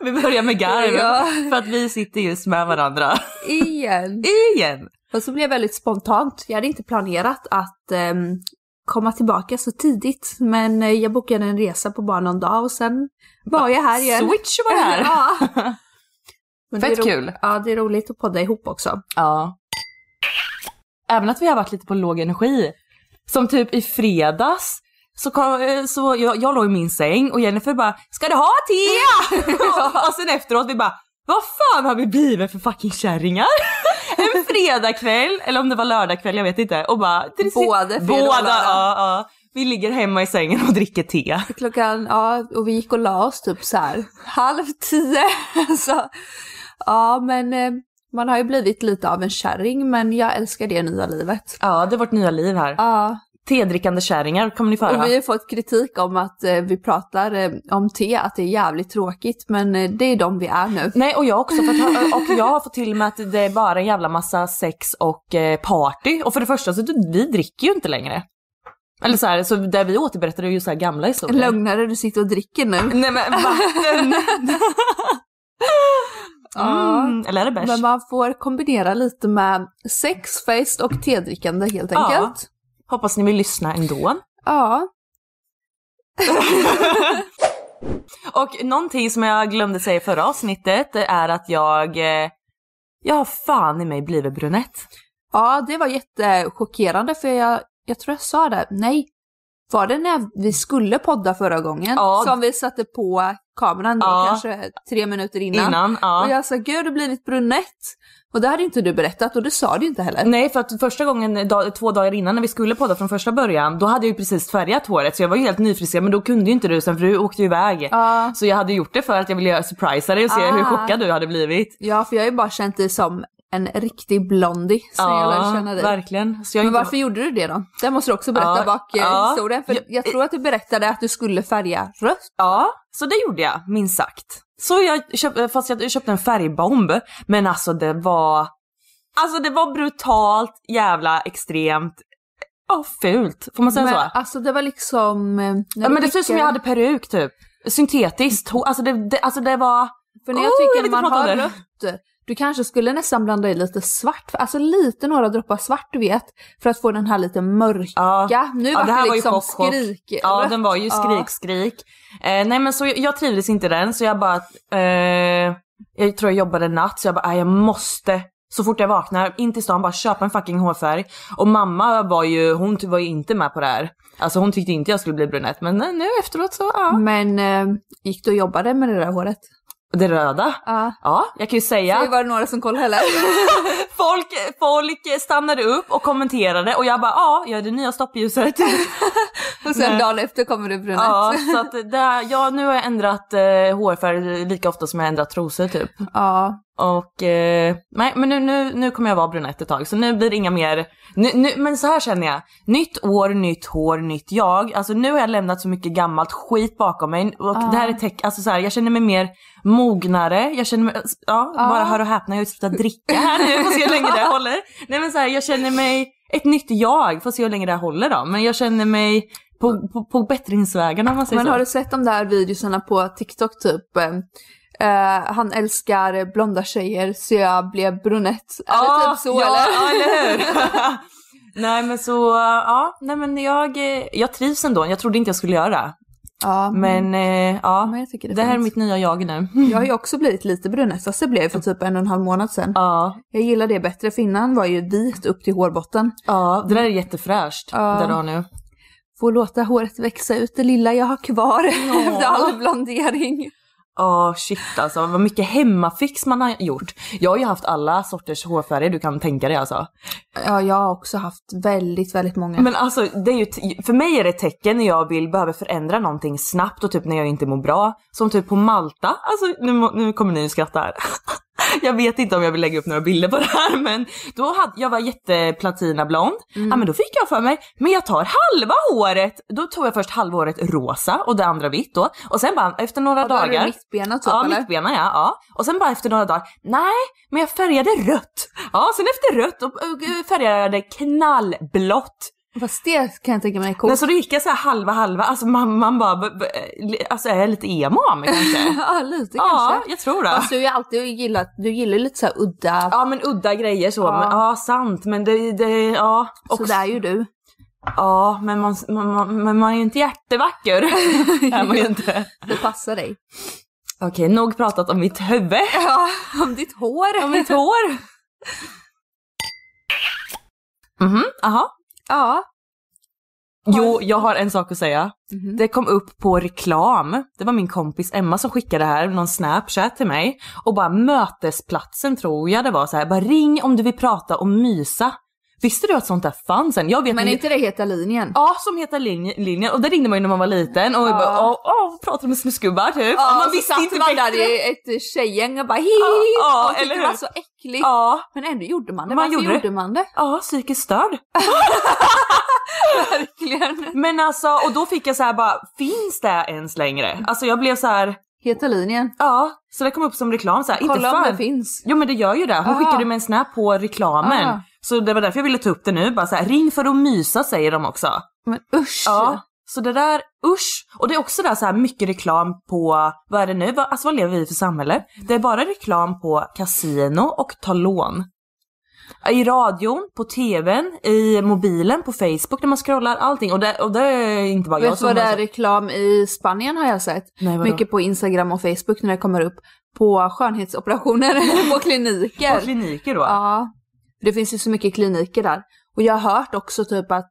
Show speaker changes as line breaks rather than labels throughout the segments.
Vi börjar med garv
Ja.
för att vi sitter just med varandra.
Igen.
Igen.
Och så blev jag väldigt spontant. Jag hade inte planerat att ehm, komma tillbaka så tidigt. Men eh, jag bokade en resa på bara någon dag och sen var jag här igen.
Switch var det här.
ja. Men
Fett
det är ro-
kul.
Ja, det är roligt att podda ihop också.
Ja. Även att vi har varit lite på låg energi. Som typ i fredags så, kom, eh, så jag, jag låg i min säng och Jennifer bara “ska du ha te?” och, och sen efteråt vi bara “vad fan har vi blivit för fucking kärringar?” En fredagkväll, eller om det var lördagkväll, jag vet inte. Och bara, det är-
Både fredag och
båda,
lördag.
ja, ja. Vi ligger hemma i sängen och dricker te.
Klockan, ja, och vi gick och la oss typ så här halv tio. så, ja, men eh, man har ju blivit lite av en kärring, men jag älskar det nya livet.
Ja, det är vårt nya liv här.
Ja,
Tedrickande kärringar kommer ni få höra.
Och vi har fått kritik om att eh, vi pratar eh, om te, att det är jävligt tråkigt, men eh, det är de vi är nu.
Nej och jag har också fått hö- och jag har fått till mig att det är bara en jävla massa sex och eh, party. Och för det första så du- vi dricker ju inte längre. Eller så här, så där vi återberättar är ju så här gamla
En
historier.
lögnare du sitter och dricker nu.
Nej men vatten!
Ja.
mm, eller är det bärs?
Men man får kombinera lite med sexfest och tedrickande helt
Ja.
enkelt.
Hoppas ni vill lyssna ändå.
Ja.
Och någonting som jag glömde säga i förra avsnittet det är att jag, eh, jag har fan i mig blivit brunett.
Ja, det var jättechockerande för jag, jag tror jag sa det, nej. Var det när vi skulle podda förra gången?
Ja.
Som vi satte på kameran då,
Ja.
kanske tre minuter innan.
Innan ja.
Och jag sa, gud du har blivit brunett. Och det hade inte du berättat och det sa du inte heller.
Nej, för att första gången, eh, dag, två dagar innan när vi skulle podda från första början, då hade jag ju precis färgat håret så jag var ju helt nyfriskad men då kunde ju inte du sen för du åkte ju iväg.
Ja.
Så jag hade gjort det för att jag ville göra- surprisa dig och se
Ah.
hur chockad du hade blivit.
Ja, för jag har ju bara känt dig som en riktig blondie sen jag lärde känna dig.
verkligen. Så jag
Men
inte-
varför gjorde du det då? Det måste du också berätta
Ja,
bak eh,
ja.
historien. För
Ja,
jag, tror att du berättade att du skulle färga rött.
Ja, så det gjorde jag, minst sagt. Så jag köpte, fast jag köpte en färgbomb, men alltså det var... Alltså det var brutalt jävla extremt, ja fult, får man säga
Men
så?
alltså det var liksom... eh, när
Ja,
du
men det ser ut som jag
skickade-
hade peruk typ. Syntetiskt. Ho- Alltså det, det, alltså det var...
För när jag
Oh,
tycker
jag vill
man
inte prata
har
om det.
rött, du kanske skulle nästan blanda i lite svart. För, alltså lite några droppar svart du vet, för att få den här lite mörka.
Ja.
nu
Ja,
var
det här
det
var ju
liksom
chock, chock.
skrik.
Ja,
rött.
den var ju
Ja.
skrik, skrik. Eh, nej men så jag, jag trivdes inte i den så jag bara... Eh, jag tror jag jobbade natt så jag bara, "Aj, jag måste. Så fort jag vaknar, in till stan, bara köpa en fucking hårfärg. Och mamma var ju, hon ty- var ju inte med på det här. Alltså hon tyckte inte jag skulle bli brunett men eh, nu efteråt så ja.
Men eh, gick du och jobbade med det där håret?
Det röda?
Ja.
Ja, jag kan ju säga
Det
att
var det några som kollade heller.
folk, folk stannade upp och kommenterade och jag bara ja, jag är det nya stoppljuset.
Och sen
Nej.
dagen efter kommer det brunett.
ja,
Ja.
så att det, där- ja, nu har jag ändrat eh, hårfärg lika ofta som jag har ändrat trosor typ. Och eh, nej, men nu, nu, nu kommer jag vara brunett ett tag så nu blir det inga mer, nu, nu, men så här känner jag. Nytt år, nytt hår, nytt jag. Alltså nu har jag lämnat så mycket gammalt skit bakom mig och det här är teck, alltså så här, jag känner mig mer mognare, jag känner mig, ja, bara hör och häpna, jag har ju slutat dricka här nu, får se hur länge det här håller. Nej men så här, jag känner mig ett nytt jag, får se hur länge det här håller då, men jag känner mig på, på, på bättringsvägen om man säger
Men
så.
har du sett de där videorna på TikTok typ? eh, eh, han älskar blonda tjejer så jag blev brunett. Eller typ så
ja,
eller?
Ja, eller hur? nej men så, ja, nej men jag, eh, jag trivs ändå. Jag trodde inte jag skulle göra det.
Ja,
Men eh, ja,
Mm. men jag tycker det,
det här är
fint.
mitt nya jag nu.
Jag har ju också blivit lite brunett, fast det blev för typ en och en halv månad sedan.
Ja,
Jag gillar det bättre, för innan var ju vit upp till hårbotten.
ja, det där är jättefräscht,
Ja.
det du har nu.
Får låta håret växa ut det lilla jag har kvar efter all blondering.
Ja, shit alltså. Vad mycket hemmafix man har gjort. Jag har ju haft alla sorters hårfärger du kan tänka dig alltså.
Ja, jag har också haft väldigt, väldigt många.
Men alltså, det är ju t- för mig är det ett tecken när jag vill behöver förändra någonting snabbt och typ när jag inte mår bra. Som typ på Malta, alltså nu, må- nu kommer ni skratta här. Jag vet inte om jag vill lägga upp några bilder på det här men då hade, jag var jätteplatinablond,
Mm.
ja men då fick jag för mig, men jag tar halva håret! Då tog jag först halva håret rosa och det andra vitt då och sen bara efter några
Och då har du
dagar
mittbena typ
Ja,
eller?
mittbena ja, ja. Och sen bara efter några dagar, nej, men jag färgade rött. Ja, sen efter rött och, och färgade jag det knallblått.
Fast det kan jag tänka mig är coolt.
Men så då gick jag så här halva halva, alltså man, man bara, b- b- alltså är jag lite emo av mig kanske?
Ja, lite
ja,
kanske.
jag tror det.
Fast du har ju alltid gillat, du gillar ju lite så här udda,
Ja men udda grejer så,
Ja.
men ja sant men det, det ja. Och,
så där är ju du.
Ja men man, man, man, men man är ju inte jättevacker. Det är man ju inte.
Det passar dig.
Okej, nog pratat om mitt huvud.
Ja, om ditt hår.
Om mitt hår. Mhm, aha.
Ja.
Jo, jag har en sak att säga.
Mhm.
Det kom upp på reklam, det var min kompis Emma som skickade här, någon snapchat till mig. Och bara mötesplatsen tror jag det var så här, bara ring om du vill prata och mysa. Visste du att sånt där fanns än? Jag vet
Men är
inte-
inte det heta linjen?
Ja, som heter linje, linjen. Och det ringde man ju när man var liten och ja. bara åh, åh, pratade med snuskgubbar typ.
Ja,
man
så satt man där i ett tjejgäng och bara hi, hi,
Ja,
och tyckte
eller
det var
hur?
så äckligt.
Ja,
Men ändå gjorde man det.
Man
Varför
gjorde
gjorde,
det.
man det?
ja, psykiskt störd.
Verkligen.
Men alltså, och då fick jag så här bara, finns det ens längre? Alltså jag blev så här,
Heta linjen.
ja, så det kom upp som reklam så här, inte
Kolla om
fan.
det finns.
Jo men det gör ju det, hon
Aha.
skickade med en snap på reklamen.
Aha.
Så det var därför jag ville ta upp det nu, bara så här, ring för att mysa säger de också.
Men usch.
Ja, så det där, usch. Och det är också där så här mycket reklam på, vad är det nu, Vad- alltså vad lever vi i för samhälle? Det är bara reklam på kasino och ta lån. I radion, på tvn, i mobilen, på Facebook när man scrollar, allting. Och det, och det är inte bara jag
Vet du
som
vad det är
har sett.
reklam i Spanien har jag sett?
Nej, vadå?
Mycket på Instagram och Facebook när det kommer upp. På skönhetsoperationer på kliniker.
På kliniker då?
Ja. Det finns ju så mycket kliniker där. Och jag har hört också typ att,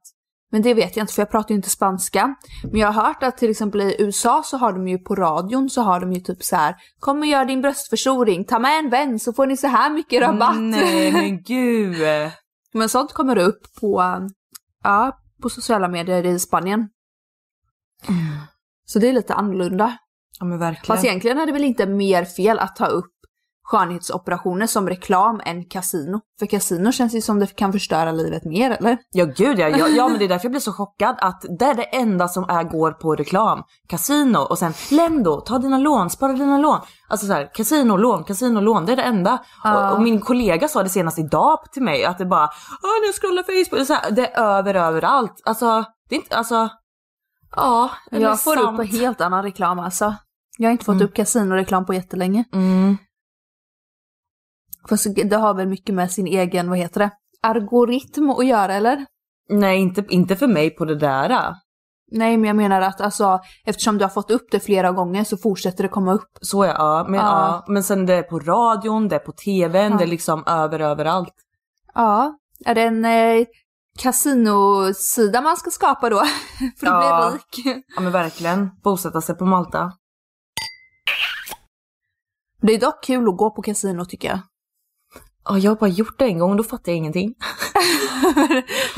men det vet jag inte för jag pratar ju inte spanska. Men jag har hört att till exempel i USA så har de ju på radion så har de ju typ så här, kom och gör din bröstförstoring, ta med en vän så får ni så här mycket rabatt.
Mm, Nej men gud.
Men sånt kommer upp på, eh, ja, på sociala medier i Spanien. Så det är lite annorlunda.
Ja men verkligen.
Fast egentligen är det väl inte mer fel att ta upp skönhetsoperationer som reklam än kasino. För kasino känns ju som det kan förstöra livet mer, eller?
Ja gud ja, ja, ja men det är därför jag blir så chockad att det är det enda som är, går på reklam. Casino och sen Lendo, ta dina lån, spara dina lån. Alltså så här, casino, lån, casino, lån, det är det enda. Och, och min kollega sa det senast idag till mig att det bara, ah nu scrollar Facebook, så här, det är över överallt. Alltså, det är inte, alltså, ja. är det
Jag får
sant?
upp en helt annan reklam alltså. Jag har inte fått upp kasinoreklam på jättelänge.
Mm.
Fast det har väl mycket med sin egen, vad heter det, algoritm att göra eller?
Nej inte, inte för mig på det där.
Nej men jag menar att alltså eftersom du har fått upp det flera gånger så fortsätter det komma upp.
Så ja, ja, men,
Ja.
ja. men sen det är på radion, det är på tvn,
Ja.
det är liksom över överallt.
Ja, är det en eh, kasinosida man ska skapa då? För att
Ja.
bli rik.
Ja men verkligen, bosätta sig på Malta.
Det är dock kul att gå på kasino tycker jag.
Ja, jag har bara gjort det en gång och då fattar jag ingenting.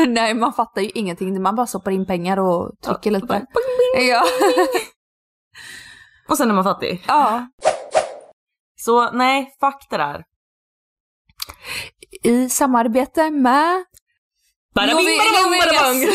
Nej, man fattar ju ingenting. Man bara stoppar in pengar och trycker lite.
Bara, bing, bing.
Ja.
Och sen är man fattig.
ja.
Så nej, fuck det där.
I samarbete med...
Bada bing, bada bong, bada bong.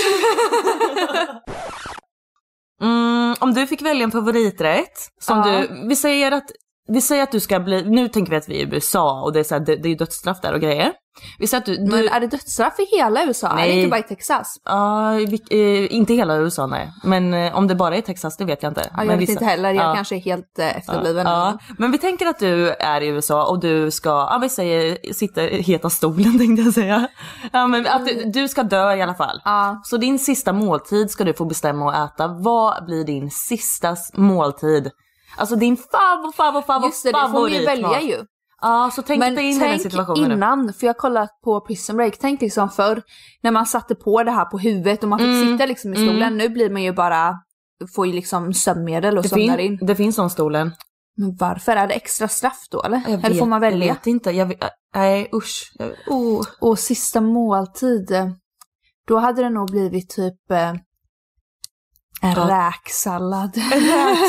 Mm, om du fick välja en favoriträtt, som
Ja.
du, vi säger att vi säger att du ska bli, nu tänker vi att vi är i USA och det är, så här, det, det är ju dödsstraff där och grejer. Vi säger att du,
Men
du
är det dödsstraff i hela USA? Är
Nej.
det inte bara i Texas?
Ja, i vilk- eh, inte hela USA nej, men eh, om det bara är Texas det vet jag inte.
Ja, jag
men
vet
vissa-
inte heller, jag
Ja.
kanske är helt eh, efterbliven.
Ja, men vi tänker att du är i USA och du ska, ja vi säger sitta i heta stolen tänkte jag säga. Ja men att du, du ska dö i alla fall.
Ja.
Så din sista måltid ska du få bestämma att äta. Vad blir din sista s- måltid? Alltså din favvo, favvo, favvo,
Just det, det får man ju
favoritmat.
välja ju.
Ja, så tänk
Men
dig in i den
tänk
situationen nu.
innan, för jag har kollat på Prison Break, tänk liksom förr när man satte på det här på huvudet och man fick
Mm.
sitta liksom i stolen. Nu blir man ju bara, får ju liksom sömnmedel och
Det,
somnar
fin,
in.
det finns sån stolen.
Men varför? Är det extra straff då eller?
Jag
eller får
vet-
man
Jag
välja? Oh.
vet inte. Jag vet, nej usch. Jag,
Och, och sista måltid, eh, då hade det nog blivit typ eh, en
Ja.
räksallad.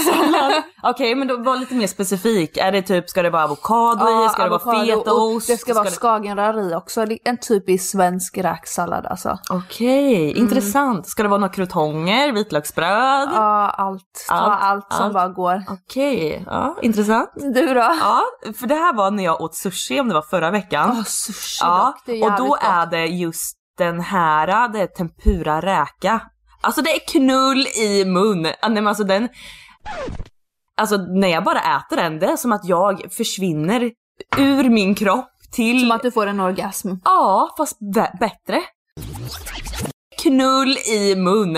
Sallad. Okej, men då var lite mer specifik. Är det typ, ska det vara avokado i? Ska det vara
avokado,
fetaost?
och Det ska vara skagenröra i också. Det är En typisk svensk räksallad alltså.
Okej, intressant. Ska det vara några krutonger, vitlöksbröd?
Ja, allt. Ta
Allt,
allt, som
allt.
bara går.
Okej, ja, intressant.
Du då?
Ja, för det här var när jag åt sushi, om det var förra veckan.
Ja, sushi
ja,
dock. Det är
och då
jävligt gott.
är det just den här, det är tempura räka. Alltså det är knull i mun. Ah, Nej, men alltså den... Alltså när jag bara äter den, det är som att jag försvinner ur min kropp till...
Som att du får en orgasm.
Ja, fast bä- bättre. Knull i mun.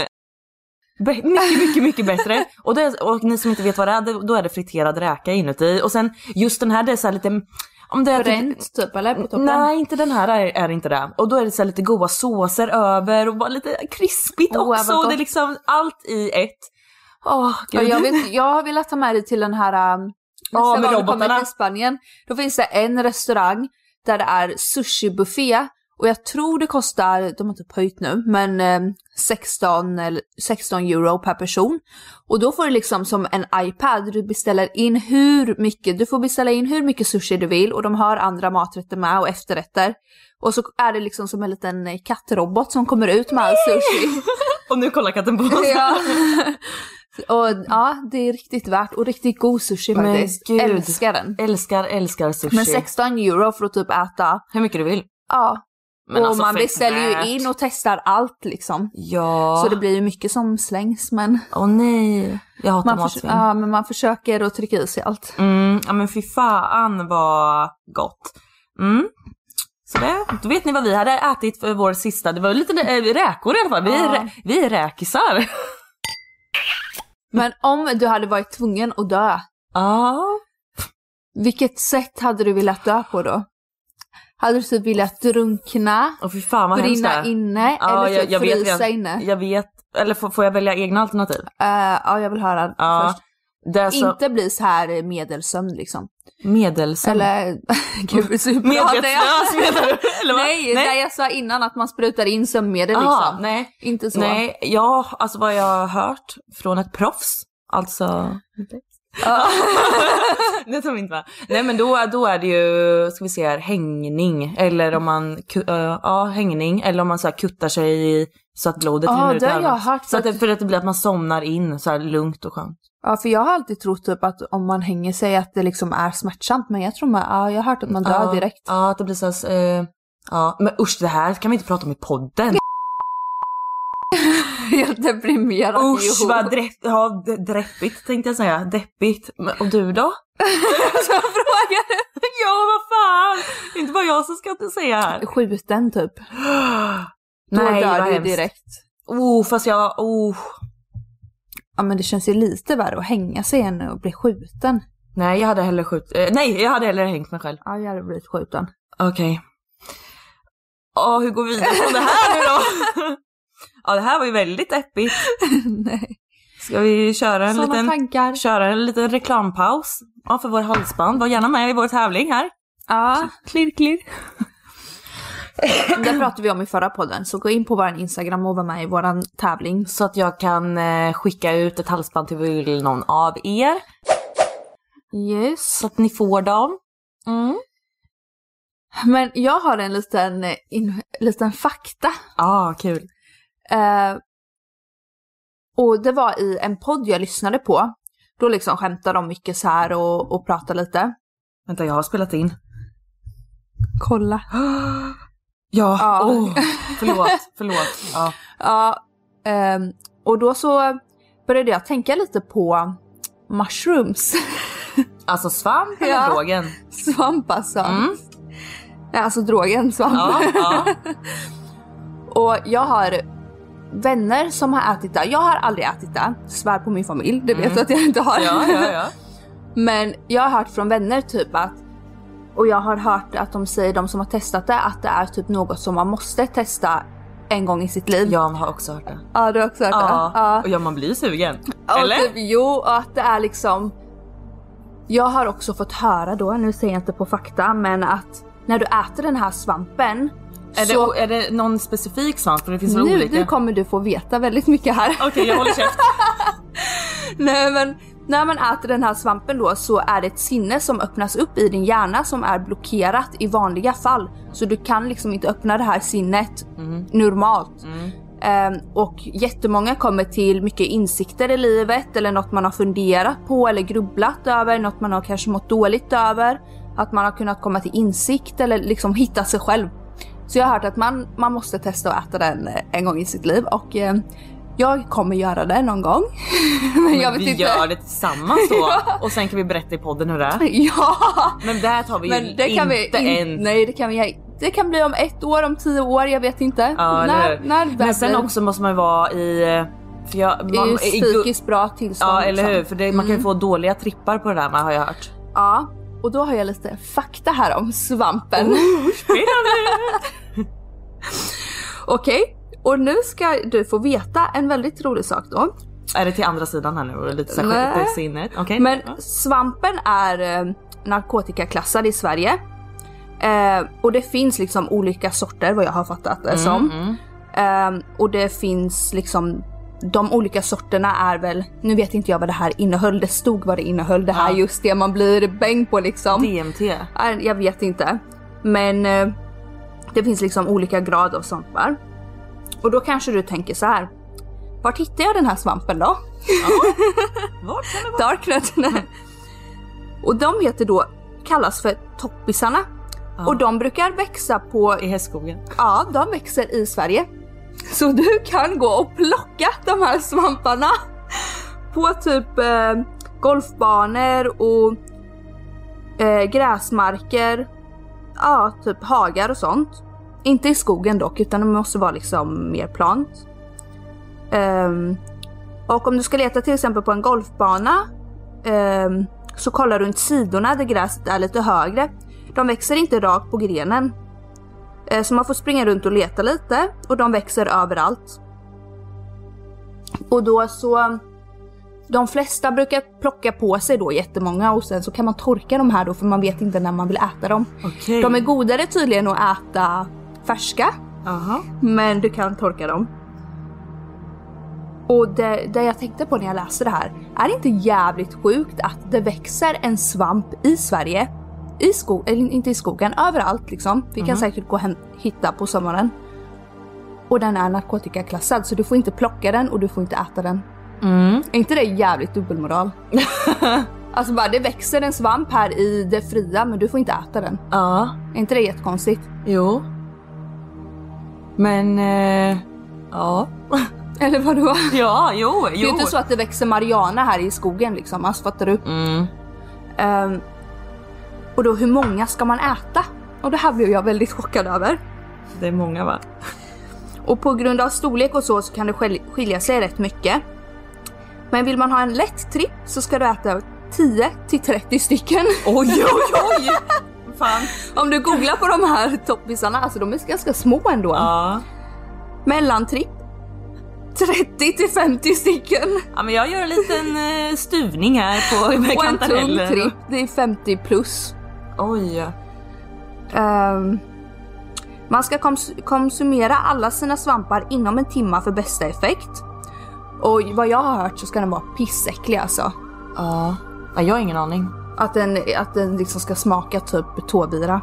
Bä- mycket, mycket, mycket bättre. Och, det, är- och ni som inte vet vad det är, det- då är det friterad räka inuti. Och sen just den här, det är så här lite... Om det är typ-
Bränt typ eller? På toppen?
Nej, inte den här är, är inte det. Och då är det så här lite goda såser över och bara lite krispigt
Åh, vad
också. Och det är
gott.
liksom allt i ett. Åh,
Ja,
gud.
jag, vet, jag har velat ta med dig till den här... Um,
Ja,
nästa
med
gång du
robotarna.
kommer till Spanien. Då finns det en restaurang där det är sushibuffé. Och jag tror det kostar, de har typ höjt nu, men um, 16, eller 16 euro per person. Och då får du liksom som en iPad, du beställer in hur mycket, du får beställa in hur mycket sushi du vill och de har andra maträtter med och efterrätter. Och så är det liksom som en liten eh, kattrobot som kommer ut med all sushi.
Och nu kollar katten på oss.
Ja. Och ja, det är riktigt värt och riktigt god sushi
Men
faktiskt.
gud.
Älskar den.
Älskar, älskar sushi.
Men 16 euro för att typ äta.
Hur mycket du vill.
Ja,
Men
och
alltså,
man
för ett
beställer
värt.
ju in och testar allt liksom.
Ja.
Så det blir ju mycket som slängs men
Åh nej, jag hatar
man, förs-
matsvinn.
ja, men man försöker att trycka i sig allt.
Mm, ja men fy fan vad gott. Mm. Så det, då vet ni vad vi hade ätit för vår sista, det var lite äh, räkor i alla fall. Vi är,
Ja.
rä, vi är räkisar.
Men om du hade varit tvungen att dö,
Ja.
vilket sätt hade du velat dö på då? Hade du typ velat drunkna,
Och fy fan vad hemskt
brinna
det är.
inne
Ja,
eller typ frysa
redan-
inne?
Jag vet, eller får, får jag välja egna alternativ?
Eh, ja, jag vill höra
Ja.
först.
Det är så
Inte bli så här medelsömn liksom.
medelsam.
Eller gud, så pratar jag.
Mm. Medvetslös menar du? Eller vad?
Nej, nej, det jag sa innan att man sprutar in sömnmedel
Aha,
liksom.
nej.
Inte så.
Nej, ja, alltså vad jag har hört från ett proffs, alltså... det tror vi inte va? Nej men då, då är det ju, ska vi se här, hängning. Eller om man, ku- eh, ja hängning. Eller om man så här kuttar sig i- så att blodet
Ja,
rinner ut
det
i
har jag
ögonen.
hört,
Så att, det-
för att-
för att det blir att man somnar in så här lugnt och skönt.
Ja, för jag har alltid trott typ att om man hänger sig att det liksom är smärtsamt. Men jag tror man, ja, jag har hört att man dör
Ja,
direkt.
Ja, att det blir så här, eh, ja. Men usch det här kan vi inte prata om i podden.
Helt deprimerad.
Usch
jo.
vad drepp, ja, d- deppigt tänkte jag säga. Deppigt. Men, och du då?
Jag frågar.
Ja, vad fan! Det är inte bara jag som ska inte säga här.
Skjuten typ. Då
Nej, vad
dör du
hemskt.
direkt.
Oh, fast jag... Oh.
Ja, men det känns ju lite värre att hänga sig än att bli skjuten.
Nej, jag hade hellre skjut... Eh, nej, jag hade hellre hängt mig själv.
Ja, jag hade blivit skjuten.
Okej. Ja, hur går vi vidare från det här nu då? ja, det här var ju väldigt deppigt.
Nej.
Ska vi köra en,
Såna
liten,
tankar.
köra en liten reklampaus? Ja, för vår halsband. Var gärna med i vår tävling här.
Ja,
Klirr, klirr.
det pratade vi om i förra podden. Så gå in på vår Instagram och var med i vår tävling.
Så att jag kan eh, skicka ut ett halsband till någon av er.
Yes.
Så att ni får dem. Mm.
Men jag har en liten, eh, in, liten fakta
Ah, kul.
Eh, och det var i en podd jag lyssnade på. Då liksom skämtade de mycket så här och, och pratade lite.
Vänta, jag har spelat in.
Kolla.
Ja,
Ja.
åh, förlåt, förlåt. Ja.
Ja, ehm, och då så började jag tänka lite på mushrooms.
Alltså svamp eller
Ja.
drogen?
Svamp alltså.
Mm.
Nej, alltså drogen svamp.
Ja, ja.
Och jag har vänner som har ätit det. Jag har aldrig ätit det. Svär på min familj, det vet du att jag inte har.
Mm. ja, ja, ja.
Men jag har hört från vänner typ att och jag har hört att de säger, de som har testat det, att det är typ något som man måste testa en gång i sitt liv.
Jag har också hört det.
Ja, du har också hört
Ja.
det? Ja.
Och ja, man blir sugen.
Och
eller?
Typ, jo, och att det är liksom... Jag har också fått höra då, nu säger jag inte på fakta, men att när du äter den här svampen
Är,
så...
det, är det någon specifik svamp? För det finns väl
nu,
olika?
nu kommer du få veta väldigt mycket här.
Okej, jag håller käft.
Nej men när man äter den här svampen då så är det ett sinne som öppnas upp i din hjärna som är blockerat i vanliga fall. Så du kan liksom inte öppna det här sinnet normalt. Ehm, och jättemånga kommer till mycket insikter i livet eller något man har funderat på eller grubblat över, något man har kanske mått dåligt över. Att man har kunnat komma till insikt eller liksom hitta sig själv. Så jag har hört att man, man måste testa att äta den eh, en gång i sitt liv och ehm, jag kommer göra det någon gång. Men jag vet
vi
inte.
gör det tillsammans då. Och sen kan vi berätta i podden hur det är.
Ja!
Men där tar vi ju
Men det kan vi
inte
in,
än.
Nej det kan vi Det kan bli om ett år, om tio år, jag vet inte.
Ja, eller
när,
hur?
när
Men sen
blir-
också måste man ju vara i... För jag, man,
i
i-
psykiskt bra tillstånd.
Ja eller
liksom.
hur, för det, man kan ju få dåliga trippar på det där med har jag hört.
Ja, och då har jag lite fakta här om svampen.
Oh.
Okej, och nu ska du få veta en väldigt rolig sak då.
Är det till andra sidan här nu och lite så
Nej.
här skit i sinnet? Okej.
Men
Ja.
svampen är eh, narkotikaklassad i Sverige. Eh, och det finns liksom olika sorter vad jag har fattat det
Mm,
som. Ehm, och det finns liksom de olika sorterna är väl, nu vet inte jag vad det här innehöll, det stod vad det innehöll, det här
Ja.
just det man blir bäng på liksom.
DMT.
Nej, Jag vet inte. Men eh, det finns liksom olika grad av svampar. Och då kanske du tänker så här. Vart hittar jag den här svampen då?
Vart kan det vara?
Darknet. Nej. Och de heter då, kallas för toppisarna. Och de brukar växa på,
I hästskogen.
ja de växer i Sverige. Så du kan gå och plocka de här svamparna på typ eh, golfbanor och eh, gräsmarker, ja typ hagar och sånt. Inte i skogen dock utan det måste vara liksom mer plant. Ehm, och om du ska leta till exempel på en golfbana ehm, så kollar runt sidorna där gräset är lite högre. De växer inte rakt på grenen. Eh, så man får springa runt och leta lite och de växer överallt. Och då så de flesta brukar plocka på sig då jättemånga och sen så kan man torka de här då för man vet inte när man vill äta dem.
Okej.
De är godare tydligen att äta färska
Aha.
men du kan torka dem. Och det, det jag tänkte på när jag läste det här, är det inte jävligt sjukt att det växer en svamp i Sverige? I skogen, eller inte i skogen, överallt liksom. Vi kan säkert gå och hem, hitta på sommaren. Och den är narkotikaklassad så du får inte plocka den och du får inte äta den. Är inte det jävligt dubbelmoral? alltså bara det växer en svamp här i det fria men du får inte äta den.
Ja.
Är inte det jättekonstigt?
Jo. Men... Eh, ja.
Eller vadå?
Ja, jo,
Det är
jo.
ju inte så att det växer marijuana här i skogen liksom, alltså fattar du?
Mm.
Ehm, och då hur många ska man äta? Och det här blev jag väldigt chockad över.
Det är många va?
Och på grund av storlek och så, så kan det skil- skilja sig rätt mycket. Men vill man ha en lätt tripp så ska du äta 10 till 30 stycken.
Oj, oj, oj! Fan.
Om du googlar på de här toppisarna, alltså de är ganska små ändå.
Ja.
Mellantripp 30 till 50 stycken.
Ja men jag gör en liten eh, stuvning här på med
Och en tung
kantareller.
tripp, det är 50 plus.
Oj.
Ehm, man ska kons- konsumera alla sina svampar inom en timma för bästa effekt. Och vad jag har hört så ska den vara pissäcklig alltså.
Ja. ja, jag har ingen aning.
Att den, att den liksom ska smaka typ tåbira.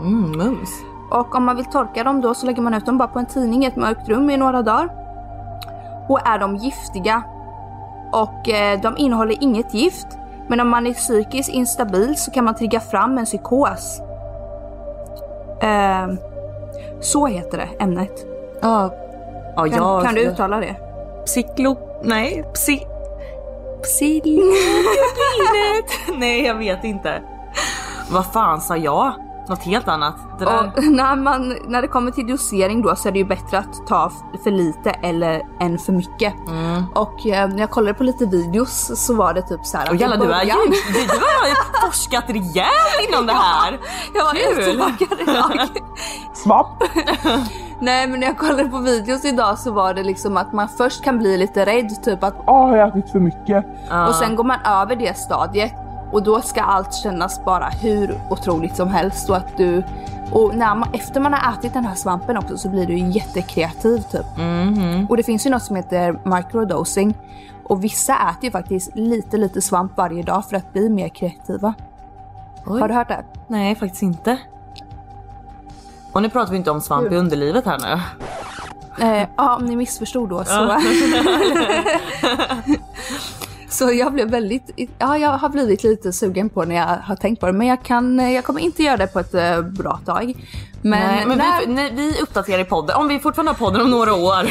Mm, mums.
Och om man vill torka dem då så lägger man ut dem bara på en tidning i ett mörkt rum i några dagar. Och är de giftiga. Och eh, de innehåller inget gift. Men om man är psykiskt instabil så kan man trigga fram en psykos. Ehm, så heter det ämnet.
Ja. Ja,
Kan,
jag...
kan du uttala det?
Psyklo... Nej, psy... Psylogin. Nej, jag vet inte. Vad fan sa jag? Något helt annat. Det där...
Och när, man, när det kommer till dosering då så är det ju bättre att ta f- för lite eller än för mycket.
Mm.
Och eh, när jag kollade på lite videos så var det typ så här.
Och
att
jävlar
i
du är
början-
ju... Du du har ju forskat rejält inom det här.
Jag var
Kul!
uttråkad idag.
Svapp.
Nej men när jag kollade på videos idag så var det liksom att man först kan bli lite rädd typ att och sen går man över det stadiet och då ska allt kännas bara hur otroligt som helst och att du och när man, efter man har ätit den här svampen också så blir du ju jättekreativ typ.
Mhm.
Och det finns ju något som heter microdosing och vissa äter ju faktiskt lite lite svamp varje dag för att bli mer kreativa.
Oj.
Har du hört det?
Nej, faktiskt inte. Och nu pratar vi inte om svamp i underlivet här nu.
Eh, ja, om ni missförstod då så... så jag blev väldigt... Ja, jag har blivit lite sugen på när jag har tänkt på det. Men jag, kan, jag kommer inte göra det på ett eh, bra tag. Men,
Nej, men
när,
vi, nej, vi uppdaterar i podden. Om vi fortfarande har podden om några år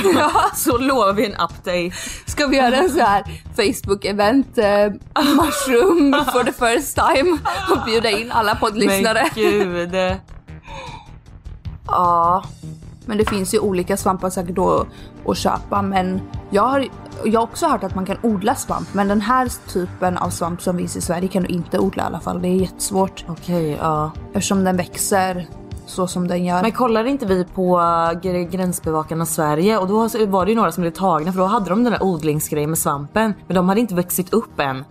så lovar vi en update.
ska vi göra en så här Facebook-event, eh, mushroom for the first time och bjuda in alla poddlyssnare.
Men gud.
Ja, men det finns ju olika svampar säkert då att köpa. Men jag har, jag har också hört att man kan odla svamp, men den här typen av svamp som finns i Sverige kan du inte odla i alla fall. Det är jättesvårt
Okej, ja.
eftersom den växer så som den gör.
Men kollade inte vi på gr- Gränsbevakarna Sverige och då så var det ju några som blev tagna för då hade de den där odlingsgrejen med svampen men de hade inte växt upp än.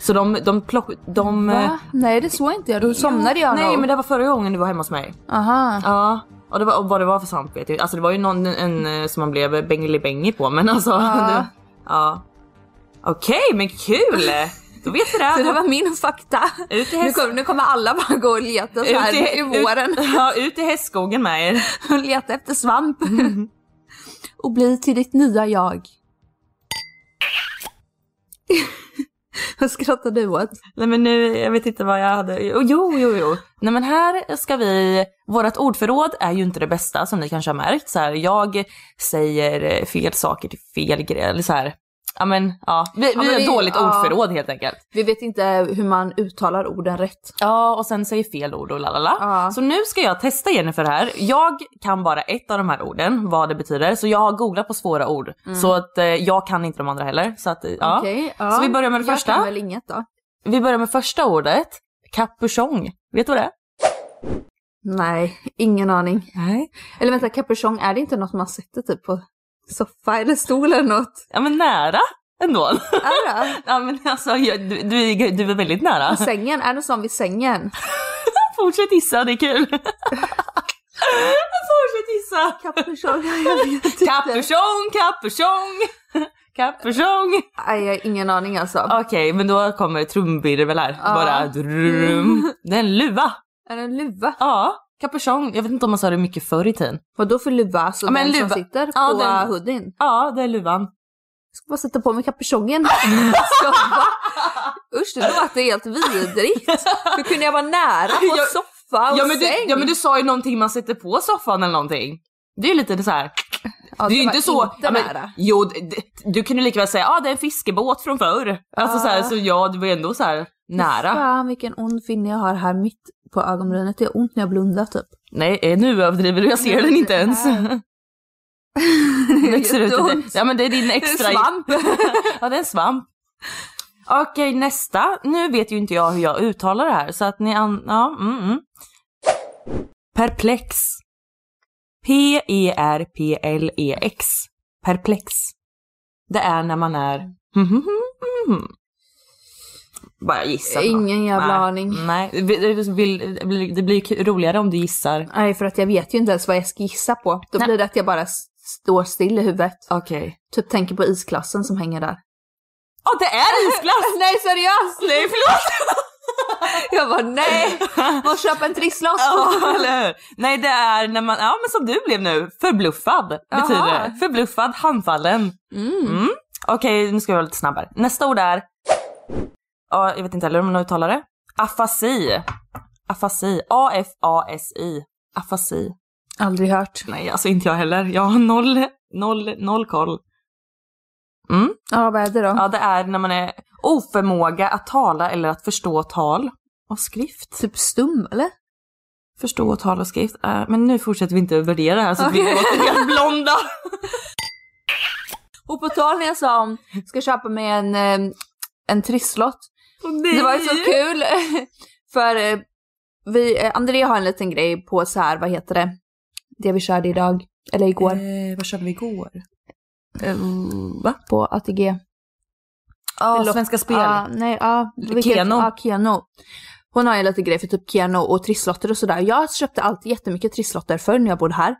Så de, de plock, de... eh,
Va? Eh, Nej, det såg inte jag. Då somnade jag
Nej
nog.
men det var förra gången du var hemma hos mig.
Aha.
Ja. Och, det var, och vad det var för svamp vet jag Alltså det var ju någon en, eh, som man blev bängeli på men alltså.
Ah.
det- ja. Okej men kul! Då vet vi det.
Så det var min fakta.
Ut i
Nu,
häst-
kom, nu kommer alla bara gå och leta så här i våren.
Ut, ja, ut i hästskogen med er.
och leta efter svamp.
Mm.
och bli till ditt nya jag. Vad skrattar du åt?
Nej men nu, jag vet inte vad jag hade. Jo, jo, jo. jo. Nej men här ska vi, vårt ordförråd är ju inte det bästa som ni kanske har märkt. Så här, jag säger eh, fel saker till fel grejer. Eller så här. Ja men ja, vi, vi
men
har
vi-
dåligt
ja.
ordförråd helt enkelt.
Vi vet inte hur man uttalar orden rätt.
Ja och sen säger fel ord och lalala.
Ja.
Så nu ska jag testa Jennifer här. Jag kan bara ett av de här orden, vad det betyder. Så jag har googlat på svåra ord. Så att eh, jag kan inte de andra heller. Så att, eh, ja.
Mm. Okej, ja.
Så vi börjar med det första.
Jag kan väl inget då?
Vi börjar med första ordet, kapuschong. Vet du vad det är?
Nej, ingen aning.
Nej.
Eller vänta, capuchong, är det inte något man sätter typ på soffa eller stol eller något?
Ja men nära ändå.
Är det?
ja men alltså jag, du, du, är- du är väldigt nära.
Sängen, är det sån vid sängen?
Fortsätt gissa, det är kul. Fortsätt gissa.
Capuchong, jag vet inte.
Kapuschong, kapuschong, kapuschong.
Nej, jag har ingen aning alltså.
Okej, men då kommer trumvirvel här. Bara drum. Det är en luva.
Är det en luva?
Ja, kapuschong. Jag vet inte om man sa det mycket förr i tiden.
Vadå för luva? Alltså
Ja, men
den
luva.
som sitter på
Ja, den-
eh, hoodien?
Ja, det är luvan.
ska bara sätta på mig kapuschongen. Alltså, va? Usch, det låter helt vidrigt. Hur kunde jag vara nära på
Jag-
soffa och
Ja men, du,
säng?
ja men du sa ju någonting man sätter på soffan eller någonting. Det är ju lite så här.
Ja,
det är ju
var
inte så...
Inte
ja, men,
nära.
jo, d- d- du kunde lika väl säga ah, det är en fiskebåt från förr. Alltså så, här, så ja, du var ändå så här nära.
Ah. Fan vilken ond finne jag har här mitt på ögonbrynet. Det gör ont när jag blundar typ.
Nej, eh, nu överdriver du. Jag ser den inte ens. Växer ut
Jätteont.
lite. Ja men det är din extra...
Svamp.
ja, det är en svamp. Okej, nästa. Nu vet ju inte jag hur jag uttalar det här så att ni an... Ja, mm, mm. E Perplex. P-E-R-P-L-E-X. E perplex. Det är när man är... Bara gissa. då.
Ingen jävla
Nej.
aning.
Nej, det blir, det blir- det blir kul- roligare om du gissar.
Nej, för att jag vet ju inte ens vad jag ska gissa på. Då
Nej.
blir det att jag bara s- står still i huvudet.
Okej.
Typ tänker på isklassen som hänger där.
Åh, det är isglass!
Alltså, nej, seriöst! Nej, förlåt! jag bara nej, måste köpa en trisslott.
Ja, eller hur? Nej, det är när man, ja men som du blev nu, förbluffad betyder
Jaha.
det. Förbluffad, handfallen. Mm. Okej, nu ska vi vara lite snabbare. Nästa ord är, ja, jag vet inte heller hur man uttalar det. Afasi. Afasi. A-F-A-S-I. Afasi.
Aldrig hört.
Nej, alltså inte jag heller. Jag har noll, noll, noll koll.
Ja, vad är det då?
Ja, det är när man är oförmåga att tala eller att förstå tal och skrift.
Typ stum, eller?
förstå tal och skrift. Eh, men nu fortsätter vi inte värdera det här så att vi
Okej.
låter helt blonda.
Och på tal när jag sa om, ska köpa mig en, eh, en trisslott. Det var ju så kul. För eh, vi, eh, Andrea har en liten grej på så här, vad heter det? Det vi körde idag, eller igår, Ehm,
Eh, vad körde vi igår? Eh, va?
på ATG.
Ja,
Förlåt.
Svenska Spel.
Ja, nej, ja. vilket-
Keno.
Ja, Keno. Hon har ju lite grej för typ Keno och trisslotter och sådär. Jag köpte alltid jättemycket trisslotter förr när jag bodde här.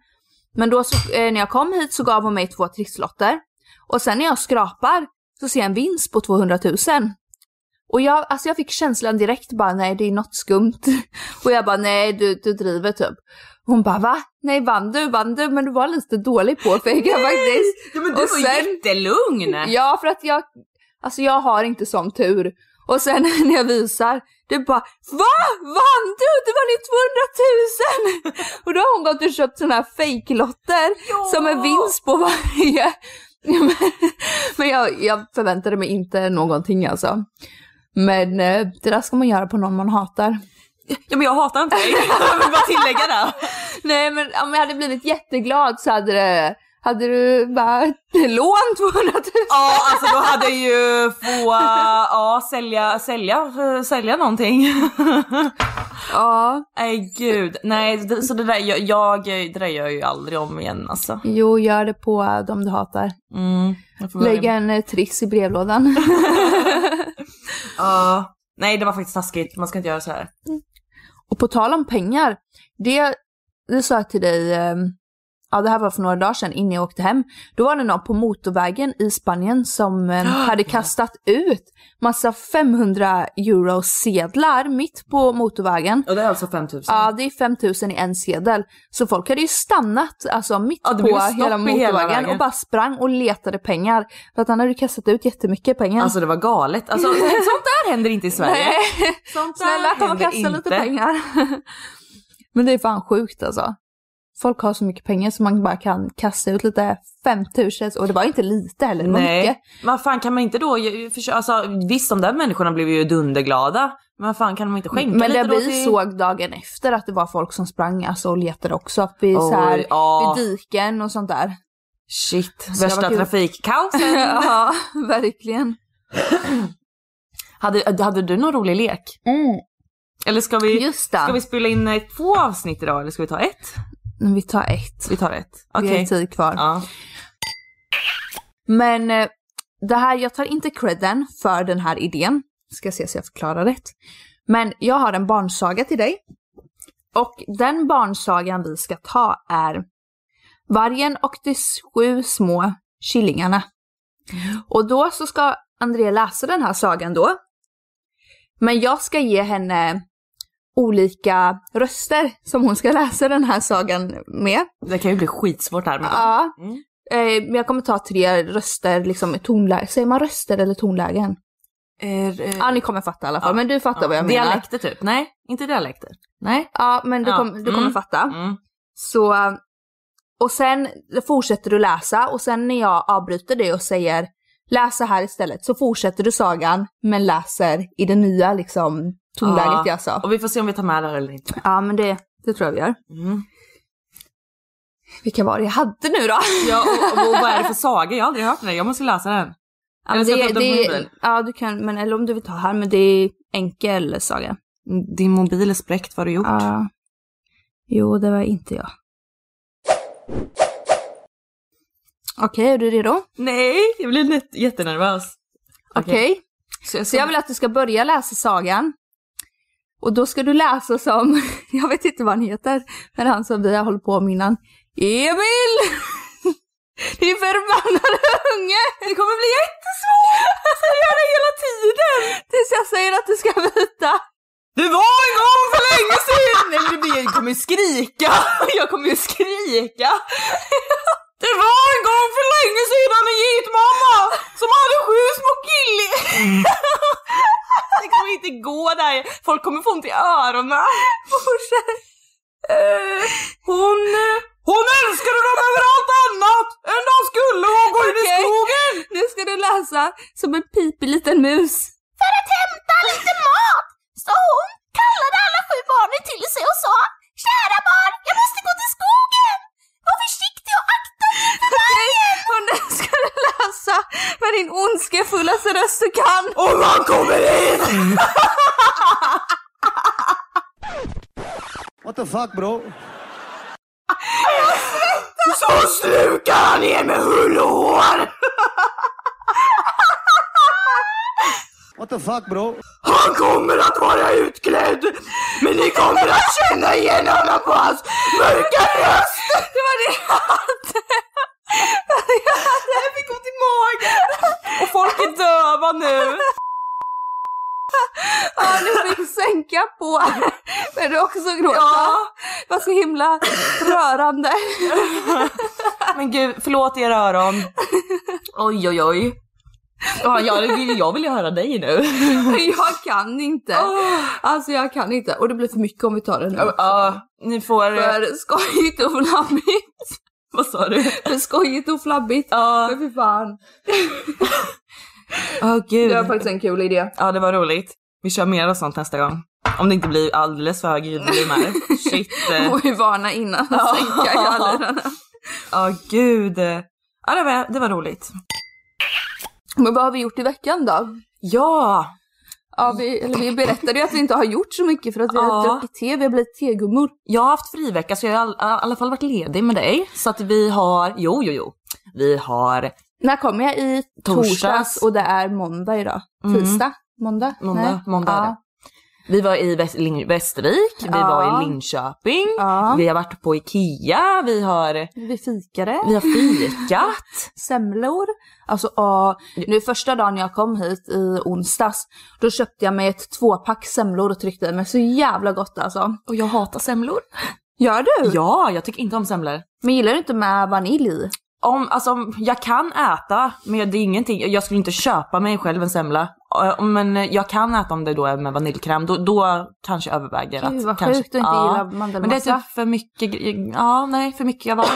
Men då så, eh, när jag kom hit så gav hon mig två trisslotter. Och sen när jag skrapar så ser jag en vinst på 200 000. Och jag, alltså jag fick känslan direkt bara nej det är något skumt. Och jag bara nej du, du driver typ. Hon bara va? Nej vann du, vann du? Men du var lite dålig på pengar faktiskt.
Ja, men
du Och var sen-
jättelugn!
Ja, för att jag, alltså jag har inte sån tur. Och sen när jag visar, det bara VA? Vann du? Du vann ju 200 000! Och då har hon gått och köpt såna här fejklotter som är vinst på varje. Men, men jag, jag förväntade mig inte någonting alltså. Men eh, det där ska man göra på någon man hatar.
Ja, men jag hatar inte dig. jag vill bara tillägga det.
Nej men om jag hade blivit jätteglad så hade det, hade du bara lån 200 000.
Ja, alltså då hade jag ju få, ja, sälja, sälja, sälja någonting.
Ja.
Nej gud, nej det- så det där, jag, jag, det där gör jag ju aldrig om igen alltså.
Jo, gör det på eh, dem du hatar.
Mm, jag får börja
Lägga en eh, triss i brevlådan.
Ja. nej det var faktiskt taskigt, man ska inte göra så här.
och på tal om pengar, det, det sa jag till dig, eh, ja det här var för några dagar sedan innan jag åkte hem. Då var det någon på motorvägen i Spanien som eh, hade kastat ut massa 500 euro sedlar mitt på motorvägen.
Och det är alltså 5000?
Ja, det är 5000 i en sedel. Så folk hade ju stannat alltså mitt
Ja, det blev
på
stopp
hela
i hela
motorvägen
vägen.
och bara sprang och letade pengar. För att han hade ju kastat ut jättemycket pengar.
Alltså det var galet, alltså sånt där händer inte i Sverige.
Nej.
Sånt där
Snälla kom och
händer
kasta lite
inte.
pengar. Men det är fan sjukt alltså. Folk har så mycket pengar så man bara kan kasta ut lite 5000 och det var inte lite heller, det var mycket.
Nej, vad fan kan man inte då ju- försöka, alltså visst de där människorna blev ju dunderglada, men vad fan kan man inte skänka
Men
lite
det
då
vi
till...
såg dagen efter att det var folk som sprang alltså, och letade också att vi
Oj,
så här,
ja.
vid diken och sånt där.
Shit,
det var
värsta
kul.
trafikkaosen.
ja, verkligen.
hade, hade du någon rolig lek? Mm. Eller ska vi,
Just det.
ska vi spela in eh, två avsnitt idag eller ska vi ta ett?
Men Vi tar ett.
Vi tar ett.
Vi
Okej.
har tid kvar.
Ja.
Men eh, det här, jag tar inte credden för den här idén. Ska se så jag förklarar rätt. Men jag har en barnsaga till dig. Och den barnsagan vi ska ta är Vargen och de sju små killingarna. Och då så ska Andrea läsa den här sagan då. Men jag ska ge henne olika röster som hon ska läsa den här sagan med.
Det kan ju bli skitsvårt här med
Ja.
Mm.
Eh, men jag kommer ta tre röster, liksom i tonläge. Säger man röster eller tonlägen?
Er, eh,
Ja, ni kommer fatta i alla fall.
Ja.
Men du fattar vad jag menar.
Dialekter typ? Nej, inte dialekter. Nej.
Ja, men du,
Ja.
kom, du kommer
Mm.
fatta. Så, och sen fortsätter du läsa och sen när jag avbryter dig och säger läs så här istället så fortsätter du sagan men läser i det nya liksom tonläget
Ja.
jag sa.
Och vi får se om vi tar med det här eller inte.
Ja, men det, det tror jag vi gör.
Mm.
Vilka var det jag hade nu då?
Ja, och, och, och vad är det för saga? Jag har aldrig hört den. Jag måste läsa den.
Ja,
Eller
men
ska jag
det,
ta upp den på
det,
mobilen?
ja, du kan, men eller om du vill ta här, men det är enkel saga.
Din mobil är spräckt, vad har du gjort?
Ja. Jo, det var inte jag. Okej, är du redo?
Nej, jag blir lite- jättenervös.
Okej.
Så jag
Så jag vill att du ska börja läsa sagan. Och då ska du läsa som, jag vet inte vad han heter, men han som vi har hållit på med innan. Emil! Din förbannade unge! Det kommer bli jättesvårt! Jag ska göra det hela tiden! Tills jag säger att du ska byta.
Det var en gång för länge sedan! Nej men det blir, jag kommer ju skrika! Jag kommer ju skrika! Det var en gång för länge sedan en mamma som hade sju små killi... Det kommer inte gå där, folk kommer få ont i öronen. Fortsätt. Eh, Hon... Hon älskade dem över allt annat än de skulle och gå in i
Okej.
skogen!
Nu ska du läsa som en pipig liten mus. För att hämta lite mat! Så hon kallade alla sju barnen till sig och sa Kära barn, jag måste gå till skogen! Var försiktig och akta dig för vargen! Och nu ska du läsa med din ondskefullaste röst du kan.
Och man kommer in!
What the fuck, bro?
Så slukar han er med hull och hår!
What the fuck, bro?
Han kommer att vara utklädd, men ni kommer att känna igen honom på hans mörka röst! Det var det jag hade! Jag fick ont i magen! Och folk är döva nu!
Ja, du fick sänka på. Men du också gråta.
Ja.
Det var så himla rörande.
Men gud, förlåt era öron. Oj oj oj. Ja, jag, jag vill ju höra dig nu.
Jag kan inte. Alltså jag kan inte. Och det blir för mycket om vi tar det nu.
Ja, ni får...
För skojigt och flabbigt.
Vad sa du?
För skojigt och flabbigt.
Ja.
Men fy fan.
Åh gud.
Det var faktiskt en kul idé.
Ja, det var roligt. Vi kör mer av sånt nästa gång. Om det inte blir alldeles för hög ljudvolym här. Shit. eh.
Och vi varna innan och sänka gallerna.
Ja, gud. Ja, det var, det var roligt.
Men vad har vi gjort i veckan då?
Ja!
Ja, vi, eller vi berättade ju att vi inte har gjort så mycket för att vi har
Ja.
druckit te, vi har blivit tegummor.
Jag har haft frivecka så jag har i all- i alla fall varit ledig med dig. Så att vi har, jo, jo, jo. Vi har
När kommer jag? I torsdags,
Torsdags.
och det är måndag idag. Tisdag? Måndag?
måndag,
Nej.
måndag är det.
ja.
Vi var i Väst, Lin, Västervik, vi
Ja.
var i Linköping,
Ja.
vi har varit på Ikea, vi har,
Vi fikade.
vi har fikat.
semlor. Alltså ja, nu första dagen jag kom hit i onsdags, då köpte jag mig ett tvåpack semlor och tryckte i mig. Så jävla gott alltså.
Och jag hatar semlor.
Gör du?
Ja, jag tycker inte om semlor.
Men gillar du inte med vanilj i?
Om, alltså, om- jag kan äta, men det är ingenting. Jag skulle inte köpa mig själv en semla. Eh, Men jag kan äta om det då är med vaniljkräm. Då, då kanske jag överväger att...
Gud vad
kanske,
sjukt att inte
ja.
gilla
Men det är
mandelmassa.
typ för mycket gre- Ja, nej, för mycket av allt.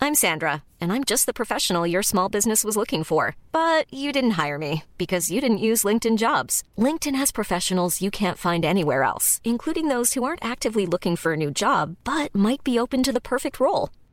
I'm Sandra, and I'm just the professional your small business was looking for. But you didn't hire me because you didn't use LinkedIn jobs. LinkedIn has professionals you can't find anywhere else, including those who aren't actively looking for a new job but might be open to the perfect role,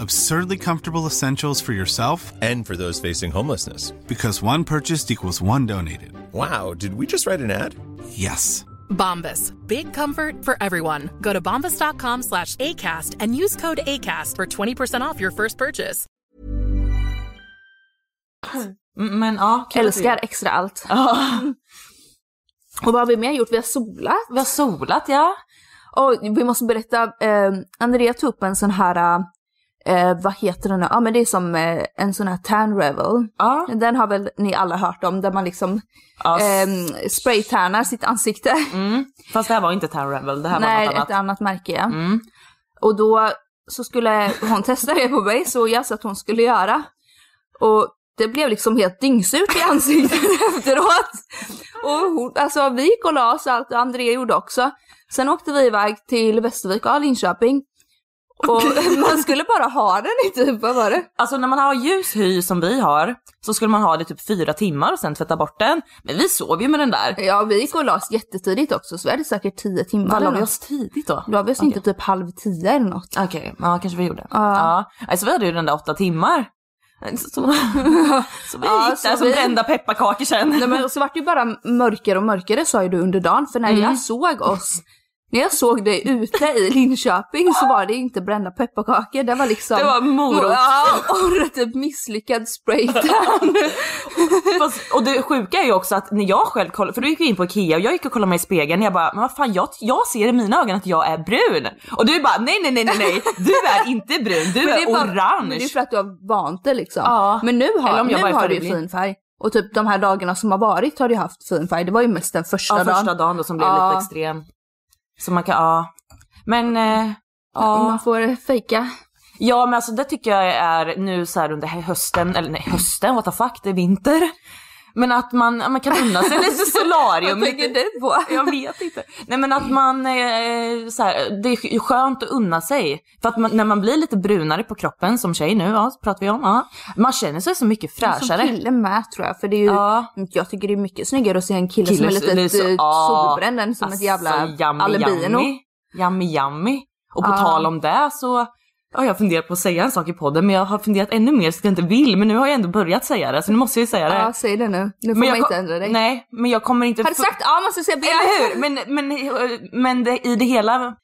Absurdly comfortable essentials for yourself
And for those facing homelessness.
because one purchased equals one donated.
Wow, did we just write an ad?
Yes.
Bombas. Big comfort for everyone. Go to bombas.com slash ACAST and use code ACAST for 20% off your first purchase.
Mm, Men ja, kul att vi-
Älskar extra allt.
Ja.
Och vad har vi mer gjort? Vi har solat.
Vi har solat, ja.
Och vi måste berätta, eh, Andrea tog upp en sån här, eh, vad heter den? Ja men det är som eh, en sån här tan revel.
Ja.
Den har väl ni alla hört om, där man liksom
ja s-
eh, spraytannar sitt ansikte.
Fast det här var inte Tan Rebel, Mm, det här
Nej,
var något annat. Mm.
ett annat märke ja. Och då så skulle hon testa det på mig, så jag sa att hon skulle göra. Och det blev liksom helt dyngsurt i ansiktet efteråt. Och hon, alltså vi gick och la oss och allt, och André gjorde också. Sen åkte vi iväg till Västervik och Linköping. Och man skulle bara ha den i typ, vad var det?
Alltså när man har ljus hy som vi har så skulle man ha det typ fyra timmar och sen tvätta bort den. Men vi sov ju med den där.
Ja, vi gick och la oss jättetidigt också så vi hade säkert tio timmar.
Vad la
eller
vi
något.
oss tidigt då?
La vi oss inte typ halv tio eller något.
Okej, ja kanske vi gjorde. Ja. Alltså vi hade ju den där åtta timmar. Så, så, så vi
Ja,
gick
så
där som
vi-
brända pepparkakor sen.
Nej men så vart det ju bara mörkare och mörkare sa ju du under dagen för när
Mm.
jag såg oss, när jag såg dig ute i Linköping så var det inte brända pepparkakor, det var liksom
Det var morot.
Ja, och typ misslyckad spraytan.
Fast, och det sjuka är ju också att när jag själv kollar, för du gick ju in på Ikea och jag gick och kollade mig i spegeln och jag bara, men vad fan jag, jag ser i mina ögon att jag är brun. Och du bara, nej nej nej nej nej, du är inte brun, du
Men
är,
bara- Men det är
orange.
för att du har vant dig liksom.
Ja.
Men nu har,
Eller om jag bara
nu
är
har du ju
färgblind.
fin färg. Och typ de här dagarna som har varit har du haft fin färg, det var ju mest den första
Ja,
dagen.
första dagen då som blev
Ja.
lite extrem. Så man kan, ja. Men, eh, ja.
Man får fejka.
ja men alltså det tycker jag är nu så här under hösten, eller nej hösten, what the fuck, det är vinter. Men att man, ja, man kan unna sig lite solarium.
Vad tänker
lite-
du på?
Jag vet inte. Nej men att man, eh, så här, det är skönt att unna sig. För att man, när man blir lite brunare på kroppen som tjej nu, ja, så pratar vi om, ja, man känner sig så mycket
Som
fräschare.
kille med tror jag, för det är ju,
Ja.
jag tycker det är mycket snyggare att se en kille, som är lite, lite
ja,
solbränd än som ett
alltså,
jävla
yummy,
albino.
Yummy, yummy, yummy. Och på
Ja.
tal om det så har jag funderat på att säga en sak i podden men jag har funderat ännu mer så att jag inte vill men nu har jag ändå börjat säga det så nu måste jag ju säga det.
Ja, säg det nu. Nu
men
får man
jag
inte
kom-
ändra dig.
Nej, men jag kommer inte...
Har du
få-
sagt ja, man ska säga B?
Eller hur? Men, men, men det, i det hela...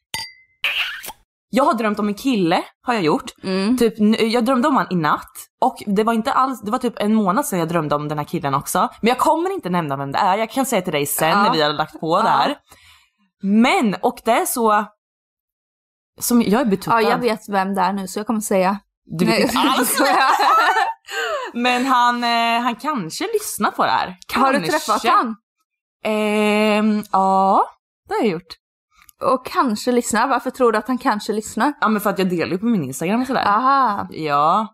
Jag har drömt om en kille, har jag gjort.
Mm.
Typ, nu- jag drömde om han i natt. Och det var inte alls, det var typ en månad sedan jag drömde om den här killen också. Men jag kommer inte nämna vem det är, jag kan säga till dig sen
Ja.
när vi har lagt på
Ja.
där. Men, och det är så... Som, jag är betuttad.
Ja, jag vet vem det är nu så jag kommer säga.
Du vet
Nej.
inte alls. Men han, eh, han kanske lyssnar på det här. Kanske.
Har du träffat han?
Ehm, ja, det har jag gjort.
Och kanske lyssnar. Varför tror du att han kanske lyssnar?
Ja men för att jag delar ju på min Instagram och sådär.
Aha.
Ja.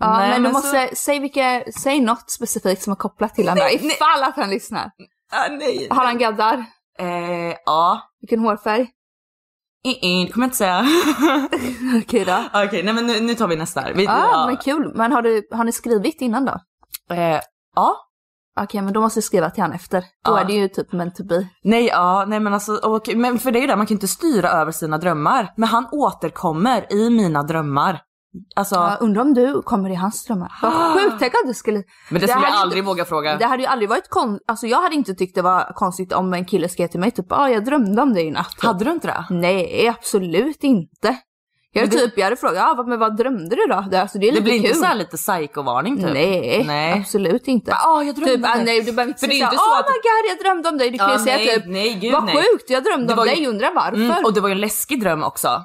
Ja,
Nej,
men du
så-
måste, säg, vilka, säg något specifikt som är kopplat till honom
Nej, nej.
ifall att han lyssnar.
Ah, nej.
Har han gaddar?
Eh, ja.
Vilken hårfärg?
I, i, det kommer jag inte säga.
Okej då.
Okej, nej men nu, nu tar vi nästa. här. Vi,
Ja,
ja.
Ah, men kul. Men har, du, har ni skrivit innan då?
eh, ja.
Okej, men då måste jag skriva till han efter. Då
Ja.
är det ju typ meant to be.
Nej, ja, nej men alltså, och, men för det är ju det, man kan ju inte styra över sina drömmar. Men han återkommer i mina drömmar. Alltså,
Ja. undrar om du kommer i hans drömmar. Vad sjukt, tänk att du skulle...
men det skulle jag
hade
aldrig
inte-
våga fråga.
Det hade ju aldrig varit kon... Alltså jag hade inte tyckt det var konstigt om en kille skrev till mig typ ah, jag drömde om dig i natt.
Hade du inte det?
Mm, Nej, absolut inte. Jag hade,
Men det-
typ, jag hade frågat ah, vad- men vad drömde du då? Det, alltså, det är
Det
lite
blir
kul.
inte så här lite psykovarning typ?
Nej,
Nej.
absolut inte.
Ja, jag drömde
typ, ah,
det.
nej, du behöver inte
För det är
säga
inte så
oh
att-
my god jag drömde om dig. Du kan
Ja,
ju säga
nej,
typ
nej, gud,
vad
nej.
sjukt jag drömde
Det
om
var ju-
dig, undrar varför.
Mm, och det var ju en läskig dröm också.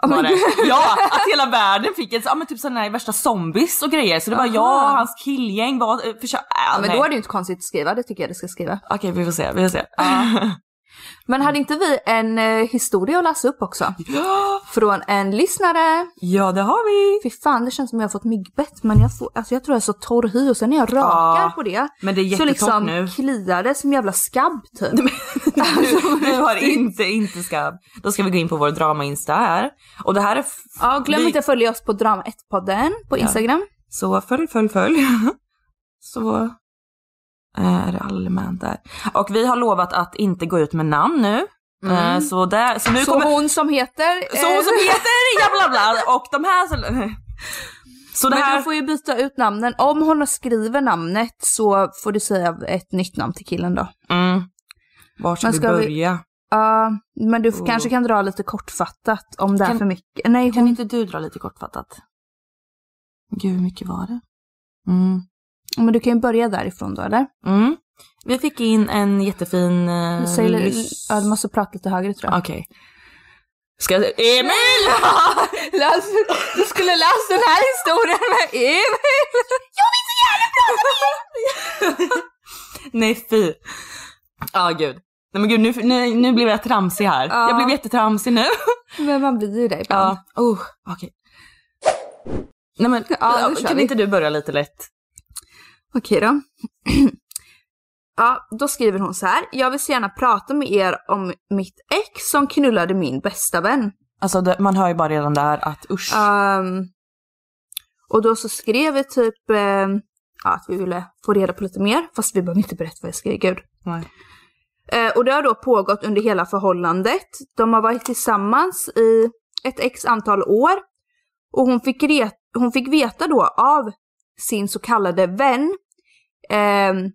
Ja, men
Var det. Ja, att hela världen fick ett, ja men typ sådana här värsta zombies och grejer. Så det var
Aha.
jag och hans killgäng var, eh, försö-
Ja,
äh,
men
nej.
då är det ju inte konstigt att skriva, det tycker jag du ska skriva.
Okej vi får se, vi får se.
Men hade inte vi en eh, historia att läsa upp också? Från en lyssnare.
Ja det har vi!
Fy fan, det känns som jag har fått myggbett men jag, får, alltså, jag tror jag är så torr hy och sen när jag rakar
Ja,
på det
men det är
så
jättetoppt
liksom
nu.
kliar det som jävla skabb typ. Alltså,
Du, du har inte, inte skabb. Då ska vi gå in på vår drama-insta här. Och det här är... f-
Ja, glöm
vi-
inte att följa oss på Drama1-podden på Instagram.
Så följ, följ, följ. Så är det allmänt där. Och vi har lovat att inte gå ut med namn nu. Eh, Så, där, så nu
Så
kommer...
hon som heter... eh,
Så hon som heter ja bla bla och de här som... Så det
Men
här...
du får ju byta ut namnen. Om hon skriver namnet så får du säga ett nytt namn till killen då.
Mm. Var ska,
Men ska
vi
vi-
börja?
Ja, men du f- kanske kan dra lite kortfattat om det är
Oh. Kan-
för mycket. Nej,
Kan
hon...
inte du dra lite kortfattat? Gud, hur mycket var det? Mm.
men du kan ju börja därifrån då eller?
Mm. Vi fick in en jättefin... eh,
Säg,
lys-
ja, du måste prata lite högre tror jag.
Okej. Ska jag... Emil!
Läs, du skulle läsa den här historien med Emil! Jag vill så gärna prata med
Nej, fy. Ja, gud. Nej men gud, nu, nu, nu blev jag tramsig här.
Ja.
Jag blev jättetramsig nu.
Men man blir ju det ibland.
Ja, oh, okej. Nej men,
Ja, nu kör
kan
vi.
inte du börja lite lätt?
Okej då. ja, då skriver hon så här. Jag vill så gärna prata med er om mitt ex som knullade min bästa vän.
Alltså det, man hör ju bara redan där att usch.
Ehm, och då så skrev vi typ ehm, ja, att vi ville få reda på lite mer, fast vi behöver inte berätta vad jag skrev, gud.
Nej.
Eh, och det har då pågått under hela förhållandet. De har varit tillsammans i ett x antal år. Och hon fick, re- hon fick veta då av sin så kallade vän ehm,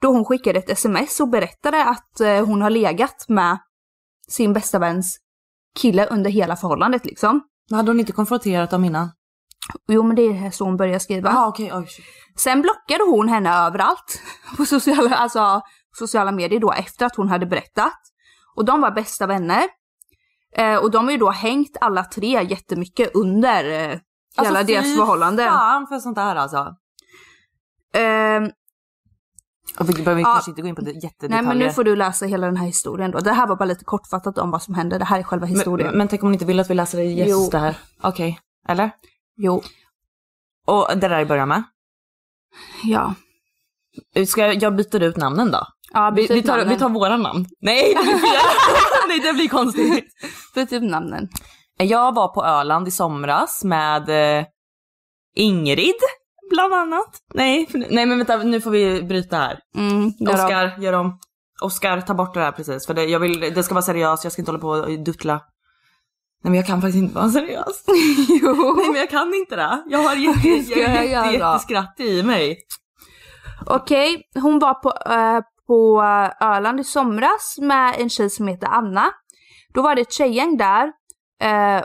då hon skickade ett sms och berättade att eh, hon har legat med sin bästa väns kille under hela förhållandet liksom.
Men hade hon inte konfronterat dem innan?
Jo men det är så hon börjar skriva.
Ja ah, okej, oj. shit.
Sen blockade hon henne överallt på sociala, alltså, sociala medier då efter att hon hade berättat. Och de var bästa vänner. Eh, och de har ju då hängt alla tre jättemycket under eh, hela
Alltså, fy
deras förhållande.
fan för sånt här alltså.
Ehm,
Och vi behöver
Ja.
kanske inte gå in på det- jättedetaljer.
nej men nu får du läsa hela den här historien då. Det här var bara lite kortfattat om vad som hände. Det här är själva historien.
Men, men tänk om ni inte vill att vi läser det just
Jo.
det här. Okej, eller?
Jo,
Och det där i början med.
ja.
Ska jag, jag byter ut namnen då?
ja
Vi,
byt
vi, tar,
namnen.
vi tar våra namn. Nej, det blir fel. Nej, det blir konstigt.
Byt ut namnen.
Jag var på Öland i somras med eh, Ingrid, bland annat. Nej, nej men vänta, nu får vi bryta här.
Mm, gör av.
Oskar, gör om. Oskar, ta bort det här precis. För det, jag vill, det ska vara seriöst, jag ska inte hålla på och duttla. Nej men jag kan faktiskt inte vara seriös.
jo.
Nej men jag kan inte det. Jag har jätte,
Vad ska jag
jätte,
göra?
jätte, jätteskratt i mig.
Okej, hon var på, eh, på eh, Öland i somras med en tjej som heter Anna. Då var det ett tjejgäng där eh,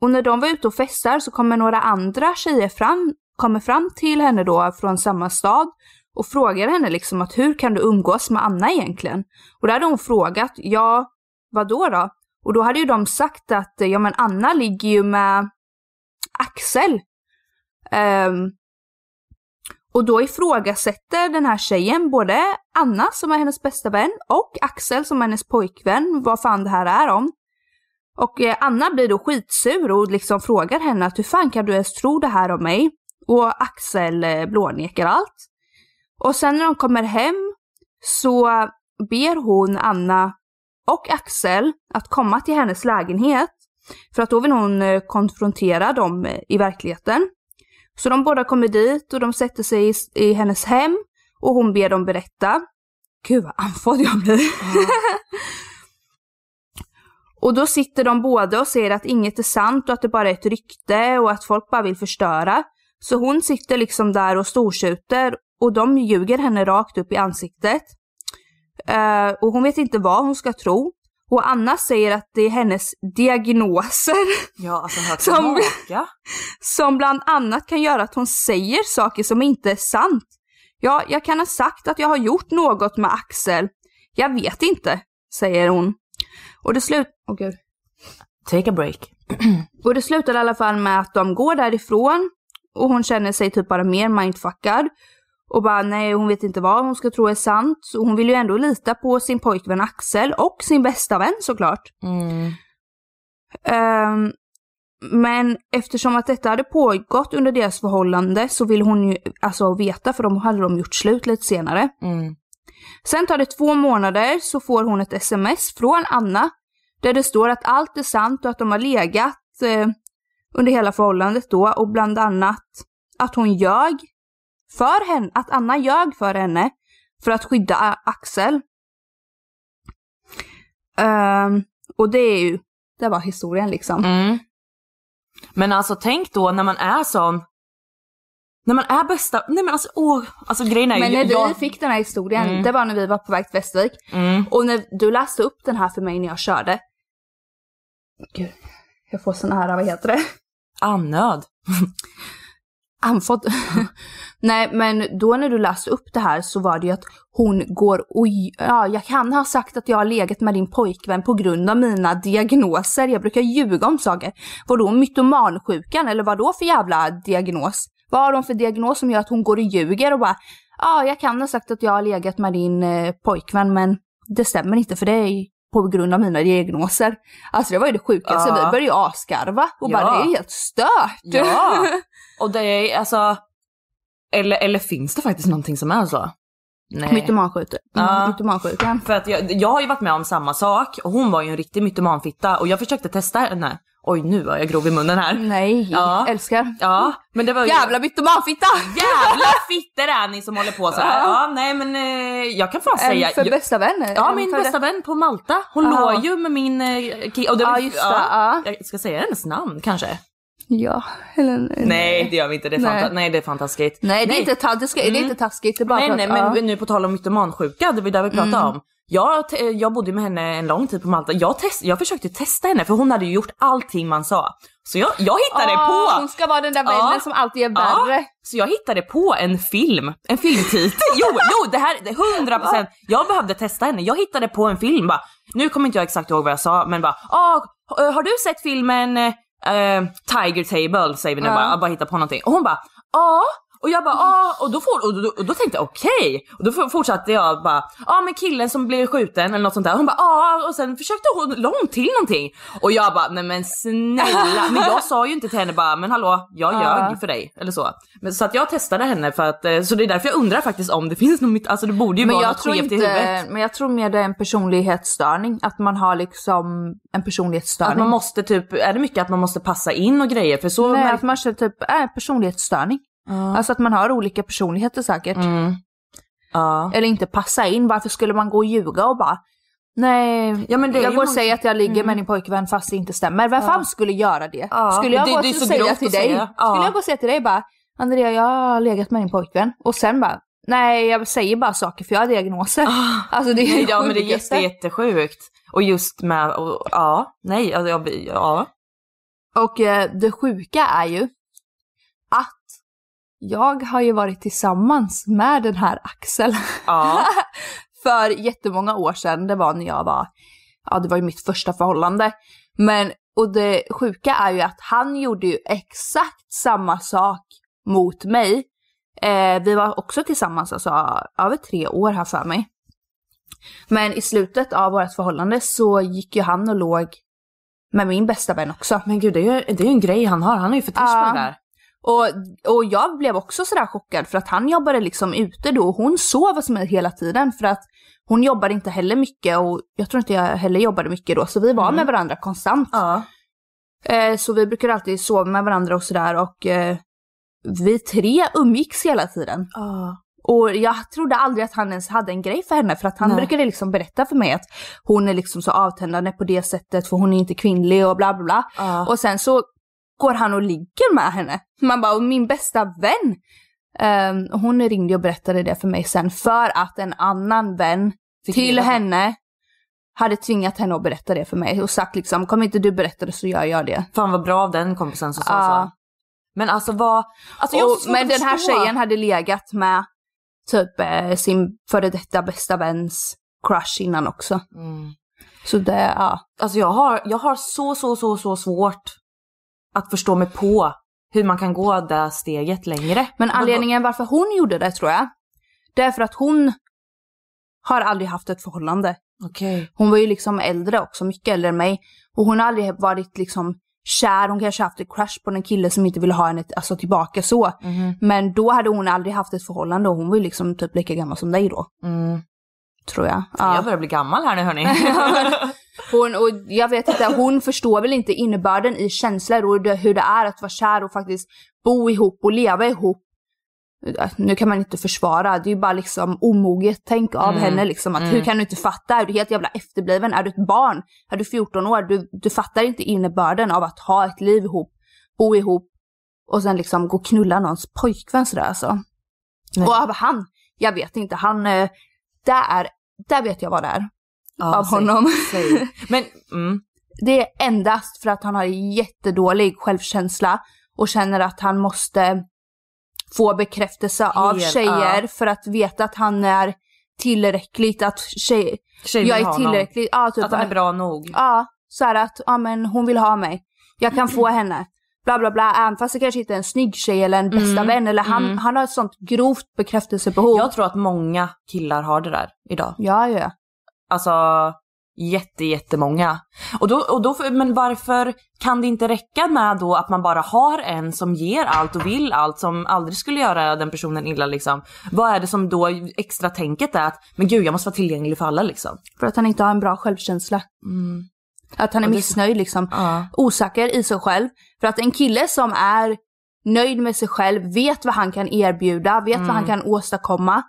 och när de var ute och festar så kommer några andra tjejer fram, kommer fram till henne då från samma stad och frågar henne liksom att hur kan du umgås med Anna egentligen? Och då hade hon frågat, ja vad då då? Och då hade ju de sagt att eh, ja men Anna ligger ju med Axel. Ehm, och då ifrågasätter den här tjejen både Anna som är hennes bästa vän och Axel som är hennes pojkvän vad fan det här är om. Och eh, Anna blir då skitsur och liksom frågar henne att hur fan kan du ens tro det här om mig? Och Axel eh, blånekar allt. Och sen när de kommer hem så ber hon Anna och Axel att komma till hennes lägenhet. För att då vill hon eh, konfrontera dem eh, i verkligheten. Så de båda kommer dit och de sätter sig i, i hennes hem och hon ber dem berätta. Gud vad andfådd jag blir. och då sitter de båda och säger att inget är sant och att det bara är ett rykte och att folk bara vill förstöra. Så hon sitter liksom där och stortjuter och de ljuger henne rakt upp i ansiktet. Eh, och hon vet inte vad hon ska tro. Och Anna säger att det är hennes diagnoser
Ja, alltså hört
Som-
tillbaka.
som bland annat kan göra att hon säger saker som inte är sant. Ja, jag kan ha sagt att jag har gjort något med Axel. Jag vet inte, säger hon. Och det, slut- Åh, gud.
Take a break.
och det slutar i alla fall med att de går därifrån och hon känner sig typ bara mer mindfuckad. Och bara nej, hon vet inte vad hon ska tro är sant. Och hon vill ju ändå lita på sin pojkvän Axel och sin bästa vän såklart.
Mm.
Ehm, men eftersom att detta hade pågått under deras förhållande så ville hon ju alltså veta för de hade de gjort slut lite senare.
Mm.
Sen tar det två månader så får hon ett sms från Anna där det står att allt är sant och att de har legat eh, under hela förhållandet då och bland annat att hon ljög för henne, att Anna ljög för henne för att skydda A- Axel. Ehm, och det är ju, det var historien liksom.
Mm. Men alltså tänk då när man är sån. När man är bästa, nej men alltså åh, alltså grejen är ju.
Men när vi
jag,
fick den här historien,
Mm.
det var när vi var på väg till Västervik.
Mm.
Och när du läste upp den här för mig när jag körde. Gud, jag får sån här, vad heter det?
Annöd.
Andfådd. Nej, men då när du läste upp det här så var det ju att hon går och... Ja, jag kan ha sagt att jag har legat med din pojkvän på grund av mina diagnoser. Jag brukar ljuga om saker. Vadå mytomansjukan eller vad då för jävla diagnos? Vad har hon för diagnos som gör att hon går och ljuger och bara... Ja, jag kan ha sagt att jag har legat med din eh, pojkvän men det stämmer inte för det är på grund av mina diagnoser. Alltså det var ju det sjukaste.
Ja.
Vi började ju asgarva och bara
Ja.
det är helt stört.
Ja. Och det är alltså. Eller, eller finns det faktiskt någonting som är så? Nej.
Mytomansjuka.
Ja.
Mm, Mytomansjukan.
För att jag, jag har ju varit med om samma sak och hon var ju en riktig mytomanfitta och jag försökte testa henne. Oj nu var jag grov i munnen här.
Nej,
Ja.
älskar.
Ja, men det var ju...
Mm. Jävla mytomanfitta!
Jävla fitter är ni som håller på så här.
Ja.
Ja, nej men eh, jag kan fan säga...
En för
jag-
bästa vän? eh,
Ja, min bästa vän på Malta. Hon
Ja.
låg ju med min eh, ki- och det
Ja,
var-
just det, ja.
Jag ska säga hennes namn kanske?
Ja, eller
Nej, det gör vi inte. Det är,
Nej.
fanta- nej, det är fantastiskt.
Nej, det är inte taskigt, det är inte taskigt. Det är bara
Mm. Nej,
för
nej,
att-
men
ja. Mm.
nu på tal om mytomansjuka, det var det vi pratade om. Jag, te- jag bodde med henne en lång tid på Malta. Jag, test, jag försökte testa henne för hon hade ju gjort allting man sa. Så jag, jag hittade
Åh,
på.
Hon ska vara den där
Ja.
vännen som alltid är
Ja,
värre.
så jag hittade på en film, en filmtitel. Jo, jo det här det är 100 procent. Jag behövde testa henne. Jag hittade på en film bara. Nu kommer inte jag exakt ihåg vad jag sa men bara, ah, har du sett filmen eh, Tiger Table säger vi nu
Ja.
bara, jag bara hitta på någonting. Och hon bara, ja. Och jag bara, ah, och då, får, och då, och då tänkte jag okej. Och då f- fortsatte jag bara, ah, men killen som blev skjuten eller något sånt där. Hon bara, ah, och sen försökte hon långt till någonting. Och jag bara, nej men snälla. Men jag sa ju inte till henne bara, men hallå, jag
Ja.
ljög för dig. Eller så. Men, så att jag testade henne för att, eh, så det är därför jag undrar faktiskt om det finns något mitt, alltså det borde ju
Men
vara
jag,
något
tror
skevt i
inte,
huvudet.
men jag tror mer det är en personlighetsstörning. Att man har liksom en personlighetsstörning.
Att man måste typ, är det mycket att man måste passa in och grejer? För så
Nej,
märk-
att man känner typ äh, personlighetsstörning.
Ja.
Alltså att man har olika personligheter säkert.
Mm. Ja.
Eller inte passa in. Varför skulle man gå och ljuga och bara Nej,
Ja, men det är
jag
ju
går och
många-
säger att jag ligger med din pojkvän fast det inte stämmer. Vem fan skulle göra det?
Ja.
Skulle jag
Det-
gå
det är
och
så
säga
grovt
till
att
dig?
säga. Ja.
Skulle jag gå och säga till dig bara Andrea jag har legat med din pojkvän och sen bara Nej jag säger bara saker för jag har diagnoser. Alltså det är
ja Ah. men det är
sjukaste.
jätte, jättesjukt. Och just med, och, ja, nej, alltså, jag, blir- ja.
Och eh, det sjuka är ju att jag har ju varit tillsammans med den här Axel
ja.
för jättemånga år sedan. Det var när jag var, ja det var ju mitt första förhållande. Men, och det sjuka är ju att han gjorde ju exakt samma sak mot mig. Eh, vi var också tillsammans alltså över tre år här för mig. Men i slutet av vårt förhållande så gick ju han och låg med min bästa vän också.
Men gud det är ju det är ju en grej han har, han är ju fetisch
Ja.
på det där.
Och, och jag blev också sådär chockad för att han jobbade liksom ute då och hon sov hos mig hela tiden för att hon jobbade inte heller mycket och jag tror inte jag heller jobbade mycket då så vi var
Mm.
med varandra konstant.
Ja.
Eh, så vi brukade alltid sova med varandra och sådär och eh, vi tre umgicks hela tiden.
Ah.
Och jag trodde aldrig att han ens hade en grej för henne för att han
Nej.
brukade liksom berätta för mig att hon är liksom så avtändande på det sättet för hon är inte kvinnlig och bla bla bla.
Ja.
Och sen så går han och ligger med henne. Man bara, "Och min bästa vän. Ehm, och hon ringde och berättade det för mig sen för att en annan vän
Fick
till
reda på.
henne hade tvingat henne att berätta det för mig och sagt liksom, kom inte du berätta det så gör jag det.
Fan vad bra av den kompisen som sa
Ja.
så. Men alltså vad, alltså jag har
och,
så svårt
men
att
den här
förstå.
tjejen hade legat med typ eh, sin före detta bästa väns crush innan också.
Mm.
Så det, ja.
Alltså jag har, jag har så, så, så, så svårt att förstå mig på hur man kan gå det steget längre.
Men anledningen varför hon gjorde det tror jag, det är för att hon har aldrig haft ett förhållande.
Okej.
Hon var ju liksom äldre också, mycket äldre än mig. Och hon har aldrig varit liksom kär, hon kanske haft en crush på en kille som inte ville ha henne alltså, tillbaka så.
Mhm.
Men då hade hon aldrig haft ett förhållande och hon var ju liksom typ lika gammal som dig då,
Mm.
tror jag.
Jag börjar bli gammal här nu hörni.
Hon, och jag vet inte, hon förstår väl inte innebörden i känslor och det, hur det är att vara kär och faktiskt bo ihop och leva ihop. Nu kan man inte försvara, det är ju bara liksom omoget tänk av
Mm.
henne liksom. Att Hur kan du inte fatta? Är du helt jävla efterbliven? Är du ett barn? Är du 14 år? Du, du fattar inte innebörden av att ha ett liv ihop, bo ihop och sen liksom gå och knulla någons pojkvän sådär alltså.
Nej.
Och av han, jag vet inte, han, eh, där, där vet jag vad det är.
Ja,
av
säg-
honom.
säg. Men, mm.
Det är endast för att han har jättedålig självkänsla och känner att han måste få bekräftelse av
Helt,
tjejer
ja.
för att veta att han är tillräckligt, att tjej,
Tjejer vill
jag
ha
är
någon.
tillräckligt, ja typ.
Att han är bra nog.
Ja, så här att, ja men hon vill ha mig. Jag kan få henne. Bla bla bla, även fast det kanske inte är en snygg tjej eller en bästa
Mm.
vän eller han, han har ett sånt grovt bekräftelsebehov.
Jag tror att många killar har det där idag.
Ja, ja.
Alltså, jätte, jättemånga. Och då, och då, men varför kan det inte räcka med då att man bara har en som ger allt och vill allt som aldrig skulle göra den personen illa liksom? Vad är det som då extra tänket är att men gud jag måste vara tillgänglig för alla liksom?
För att han inte har en bra självkänsla. Att han är
Och Mm. det-
missnöjd liksom. Osäker i sig själv. För att en kille som är nöjd med sig själv, vet vad han kan erbjuda, vet
Mm.
vad han kan åstadkomma.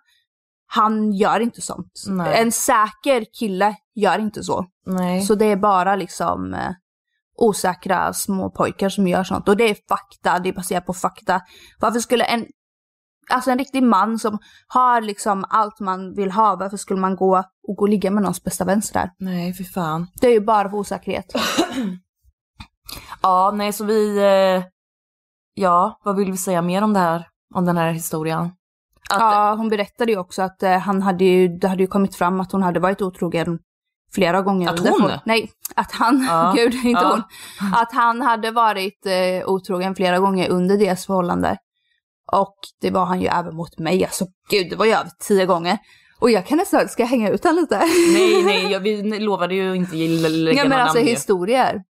Han gör inte sånt.
Nej.
En säker kille gör inte så.
Nej.
Så det är bara liksom eh, osäkra små pojkar som gör sånt. Och det är fakta, det är baserat på fakta. Varför skulle en, alltså en riktig man som har liksom allt man vill ha, varför skulle man gå och gå och ligga med någons bästa vän sådär?
Nej, för fan.
Det är ju bara för osäkerhet.
Ja, nej så vi, eh, ja vad vill vi säga mer om det här? Om den här historien?
ja, hon berättade ju också att eh, han hade ju, det hade ju kommit fram att hon hade varit otrogen flera gånger.
Att
under
hon?
folk- Nej, att han,
Ja.
gud inte
Ja.
hon. Att han hade varit eh, otrogen flera gånger under deras förhållande. Och det var han ju även mot mig, alltså gud det var ju över tio gånger. Och jag kan nästan, ska jag hänga ut honom lite?
Nej, nej, jag, vi lovade ju inte lägga
Ja men
några
alltså
namn ju.
historier.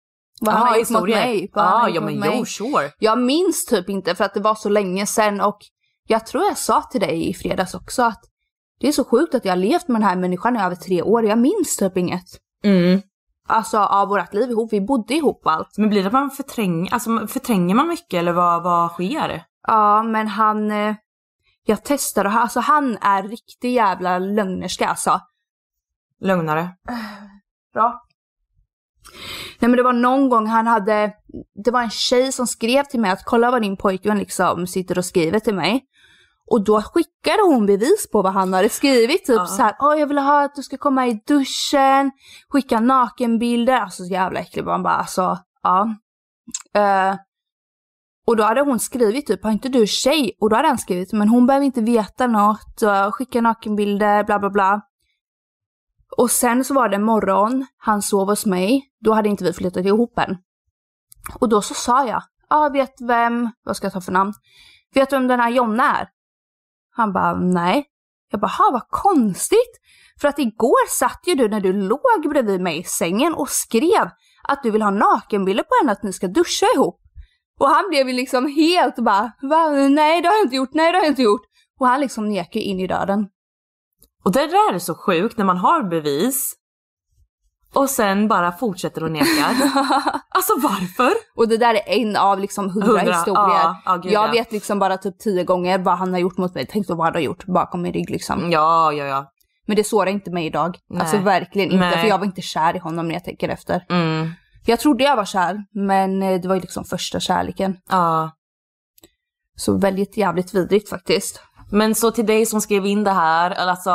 Vad han
Jaha,
har gjort mot
historier.
mig. vad han
Ah,
har
ja,
gjort
men
mot mig.
jo, sure.
Jag minns typ inte för att det var så länge sedan och jag tror jag sa till dig i fredags också att det är så sjukt att jag har levt med den här människan i över tre år. Jag minns typ inget.
Mm.
Alltså av vårt liv ihop. Vi bodde ihop och allt.
Men blir det att man förtränger, alltså förtränger man mycket eller vad, vad sker?
Ja, men han... eh, Jag testar och han- alltså han är riktig jävla lögnerska alltså.
Lögnare.
Bra. Nej men det var någon gång han hade, det var en tjej som skrev till mig att kolla vad din pojkvän liksom sitter och skriver till mig. Och då skickade hon bevis på vad han hade skrivit, typ
Ja.
så här, åh jag vill ha att du ska komma i duschen, skicka nakenbilder, alltså så jävla äckligt, man bara alltså, ja. Eh, och då hade hon skrivit typ, har inte du tjej? Och då hade han skrivit, men hon behöver inte veta något, eh, skicka nakenbilder, bla bla bla. Och sen så var det en morgon, han sov hos mig, då hade inte vi flyttat ihop än. Och då så sa jag, ja ah, vet vem, vad ska jag ta för namn? Vet du vem den här Jonna är? Han bara, nej. Jag bara, "Ha, vad konstigt. För att igår satt ju du när du låg bredvid mig i sängen och skrev att du vill ha nakenbilder på henne, att ni ska duscha ihop. Och han blev ju liksom helt bara, Va? nej det har jag inte gjort, nej det har jag inte gjort. Och han liksom nekar ju in i döden.
Och det där är så sjukt när man har bevis och sen bara fortsätter och nekar. alltså varför?
Och det där är en av liksom hundra,
Hundra,
historier.
ja, ja, gud,
jag
ja.
vet liksom bara typ tio gånger vad han har gjort mot mig. Tänk då vad han har gjort bakom min rygg liksom.
Ja, ja, ja.
Men det sårar inte mig idag.
Nej.
Alltså verkligen inte.
Nej.
För jag var inte kär i honom när jag tänker efter.
Mm.
Jag trodde jag var kär, men eh, det var ju liksom första kärleken.
Ja.
Så väldigt jävligt vidrigt faktiskt.
Men så till dig som skrev in det här, eller alltså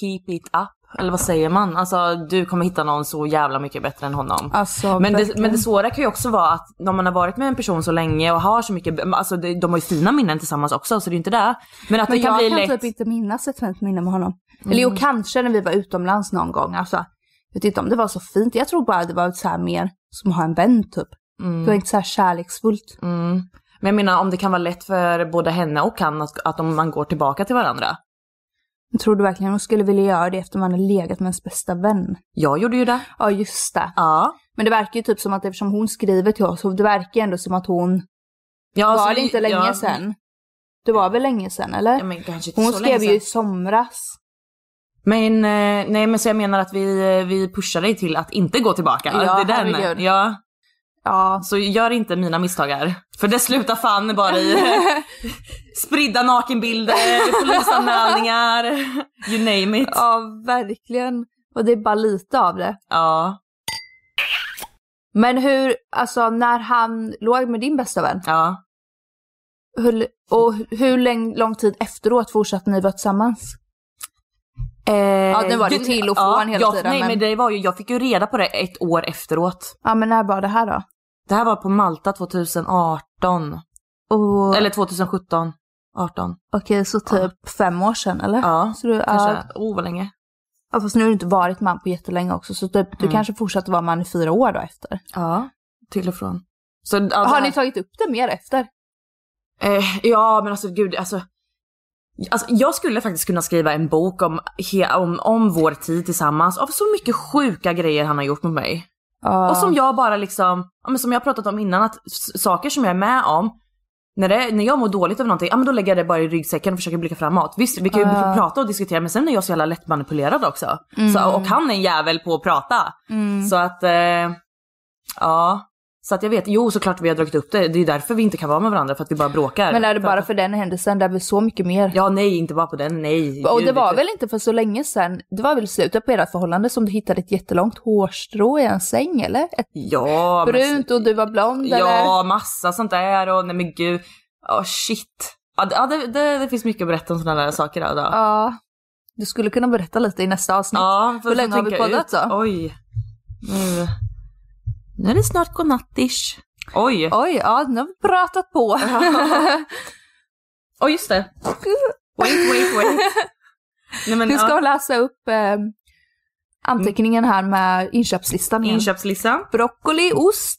keep it up. Eller vad säger man? Alltså du kommer hitta någon så jävla mycket bättre än honom.
Alltså,
Men det,
verkligen.
men det svåra kan ju också vara att när man har varit med en person så länge och har så mycket, alltså det- de har ju fina minnen tillsammans också så det är ju inte det. Men att
Men
det kan
jag
bli
kan
lätt. Mm.
typ inte minnas ett fint minne med honom. Eller jo, kanske när vi var utomlands någon gång. Alltså, jag vet inte om det var så fint. Jag tror bara det var så här mer som att ha en vän typ. Det var inte så här kärleksfullt.
Mm. Men jag menar om det kan vara lätt för både henne och han att, att om man går tillbaka till varandra.
Men Tror du verkligen hon skulle vilja göra det efter man har legat med ens bästa vän?
Jag gjorde ju det.
Ja, just det.
Ja.
Men det verkar ju typ som att eftersom hon skriver till oss, så det verkar ändå som att hon...
ja
var
så-
det inte länge
ja.
sedan? Det var väl länge sedan, eller?
Ja, men kanske inte
hon
så
skrev
länge
ju i
sedan.
somras.
Men eh, nej men så jag menar att vi, eh, vi pushar dig till att inte gå tillbaka.
Ja,
det är den.
herregud.
Ja.
Ja.
Så gör inte mina misstag här. För det slutar fan bara i spridda nakenbilder, polisanmälningar, you name it.
ja, verkligen. Och det är bara lite av det.
Ja.
Men hur, alltså när han låg med din bästa vän,
Ja.
hur, och hur lång, lång tid efteråt fortsatte ni vara tillsammans? Eh, ja, nu var det
Gud,
till och
ja,
från hela
jag,
tiden.
Nej men...
men,
det var ju, jag fick ju reda på det ett år efteråt.
Ja, men när var det här då?
Det här var på Malta 2018.
Och,
Eller 2017. 18.
Okej, så typ fem år sedan eller?
Ja,
så du,
kanske.
ja,
Oh vad länge.
ja, fast nu har du inte varit man på jättelänge också, så typ, du
Mm.
kanske fortsatte vara man i fyra år då efter.
Ja. Till och från. Så, ja, det
har
här-
ni tagit upp det mer efter?
Eh, ja men alltså gud, alltså. Alltså, jag skulle faktiskt kunna skriva en bok om, he- om, om vår tid tillsammans av så mycket sjuka grejer han har gjort mot mig.
Ja.
Och som jag bara liksom, ja, men som jag har pratat om innan, att s- saker som jag är med om, när, det, när jag mår dåligt över någonting, ja men då lägger jag det bara i ryggsäcken och försöker blicka framåt. Visst, vi kan ju
Ja.
prata och diskutera men sen är jag så jävla lättmanipulerad också.
Mm.
Så, och han är en jävel på att prata.
Mm.
Så att, eh, ja. Så att jag vet, jo såklart vi har dragit upp det, det är ju därför vi inte kan vara med varandra för att vi bara bråkar.
Men är det
För-
bara för den händelsen? Det är väl så mycket mer?
Ja nej, inte bara på den, nej.
Och det
Gud,
var
vet
väl inte för så länge sedan, det var väl i slutet på ert förhållande som du hittade ett jättelångt hårstrå i en säng eller? Ett
du. Ja, men- alltså,
brunt och du var blond eller?
Ja, massa sånt där och nej men gud. Ja, shit. Ja, det- ja det, det, det finns mycket att berätta om sådana där saker. Då. Ja,
Ja. Du skulle kunna berätta lite i nästa avsnitt.
ja
Hur länge har vi
tänka
poddat
ut.
då?
Oj. Nu. nu är det snart godnattish. Oj.
Oj, ja nu har vi pratat på.
Oj, just det. Wait, wait, wait. Nej, men,
du ska
ja,
läsa upp eh, anteckningen här med inköpslistan igen.
inköpslistan.
Broccoli, ost.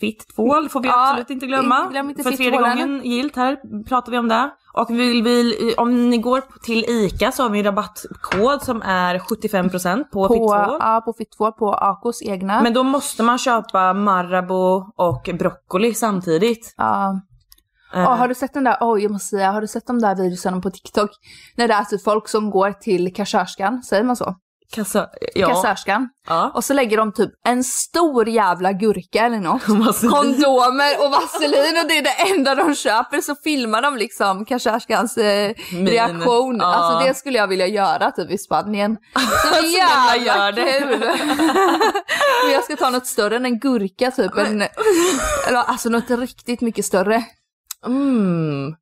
Fitt tvål får vi
Ja,
absolut inte glömma.
inte- glöm inte
För
fitt
tredje
tvål,
gången gilt här pratar vi om det. Och vill vi, om ni går till ICA så har vi en rabattkod som är 75% på,
På,
fitt tvål.
ja, på fitt tvål, på Acos egna.
Men då måste man köpa Marabou och broccoli samtidigt.
Ja.
Eh,
Ja, har du sett den där, oj jag måste säga, har du sett de där videorna på TikTok? När det är alltså folk som går till kassörskan, säger man så?
Kassa... Ja.
Kassörskan.
ja.
Och så lägger de typ en stor jävla gurka eller något.
Vaselin.
Kondomer och vaselin och det är det enda de köper. Så filmar de liksom kassörskans eh,
Min.
reaktion.
Ja.
Alltså det skulle jag vilja göra typ i Spanien. Så jävla
snälla, gör det.
kul! Men jag ska ta något större än en gurka typ. En, eller, alltså något riktigt mycket större.
Mm.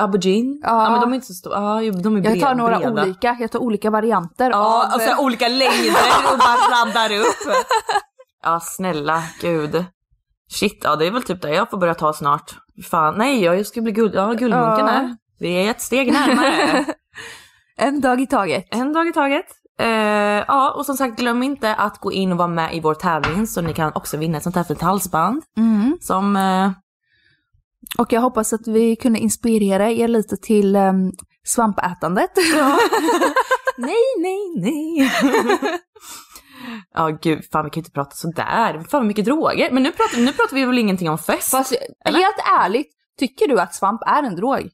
Aubergine?
Ja.
Ja men de är inte så stora. Ja, jo, de är
Jag tar
bre-
några
breda.
olika, jag tar olika varianter
Ja, alltså,
av... eh,
och så olika längder och bara raddar upp. Ja, snälla gud. Shit, ja det är väl typ det jag får börja ta snart. Fan, nej jag ska bli guld, ja, guldmunken
Ja.
här. Vi är ett steg närmare.
En dag i taget.
En dag i taget. Eh, ja, och som sagt glöm inte att gå in och vara med i vår tävling så ni kan också vinna ett sånt här fint halsband.
Mm.
Som, eh,
Och jag hoppas att vi kunde inspirera er lite till ehm, svampätandet.
nej, nej, nej. Ja gud, fan vi kan ju inte prata sådär. Fan vad mycket droger. Men nu pratar, nu pratar vi väl ingenting om fest?
Fast helt ärligt, tycker du att svamp är en drog?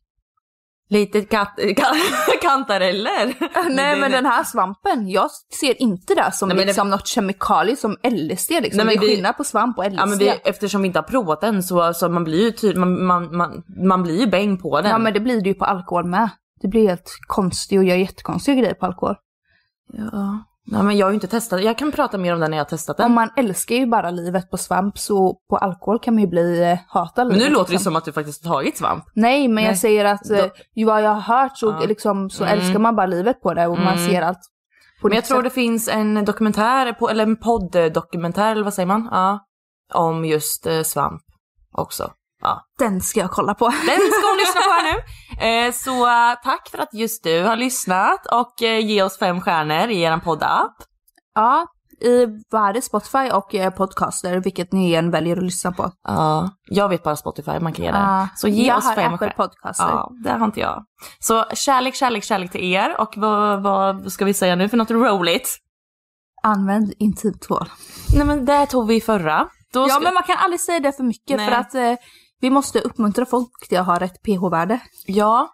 Lite kat, kan, kantareller.
Nej men den här svampen, jag ser inte det som
Nej, men det-
liksom något kemikalie som LSD liksom.
Nej, men
det är
vi-
skillnad på svamp och LSD.
Ja men vi, eftersom vi inte har provat den så, så man blir ju ty- man, man, man, man blir ju bäng på den.
Ja men det blir det ju på alkohol med. Det blir helt konstigt och gör jättekonstiga grejer på alkohol.
ja. Ja, men jag har ju inte testat, jag kan prata mer om den när jag har testat den.
Om man älskar ju bara livet på svamp så på alkohol kan man ju bli eh, hata
Men
livet.
nu låter det
liksom.
som att du faktiskt har tagit svamp.
Nej men
Nej.
jag säger att eh, ju vad jag har hört så,
Ja.
liksom, så
Mm.
älskar man bara livet på det och man
Mm.
ser allt. På
Men jag
ditt
tror
sätt.
det finns en dokumentär, på, eller en podd-dokumentär, eller vad säger man? Ja. Om just eh, svamp också. Ja.
Den ska jag kolla på.
Den ska hon lyssna på här nu. Eh, så eh, tack för att just du har lyssnat och eh, ge oss fem stjärnor i er poddapp.
Ja, i både Spotify och eh, podcaster, vilket ni än väljer att lyssna på.
Ja. Jag vet bara Spotify man kan ge det.
Ja.
Så ge
jag
oss
har
fem
Apple
stjärnor.
Podcaster.
Ja, det har inte jag. Så kärlek, kärlek, kärlek till er och vad, vad ska vi säga nu för något roligt?
Använd intimtvål.
Nej men det tog vi i förra. Då
Ja,
ska-
men man kan aldrig säga det för mycket
Nej.
för att eh, vi måste uppmuntra folk till att ha rätt pH-värde.
ja.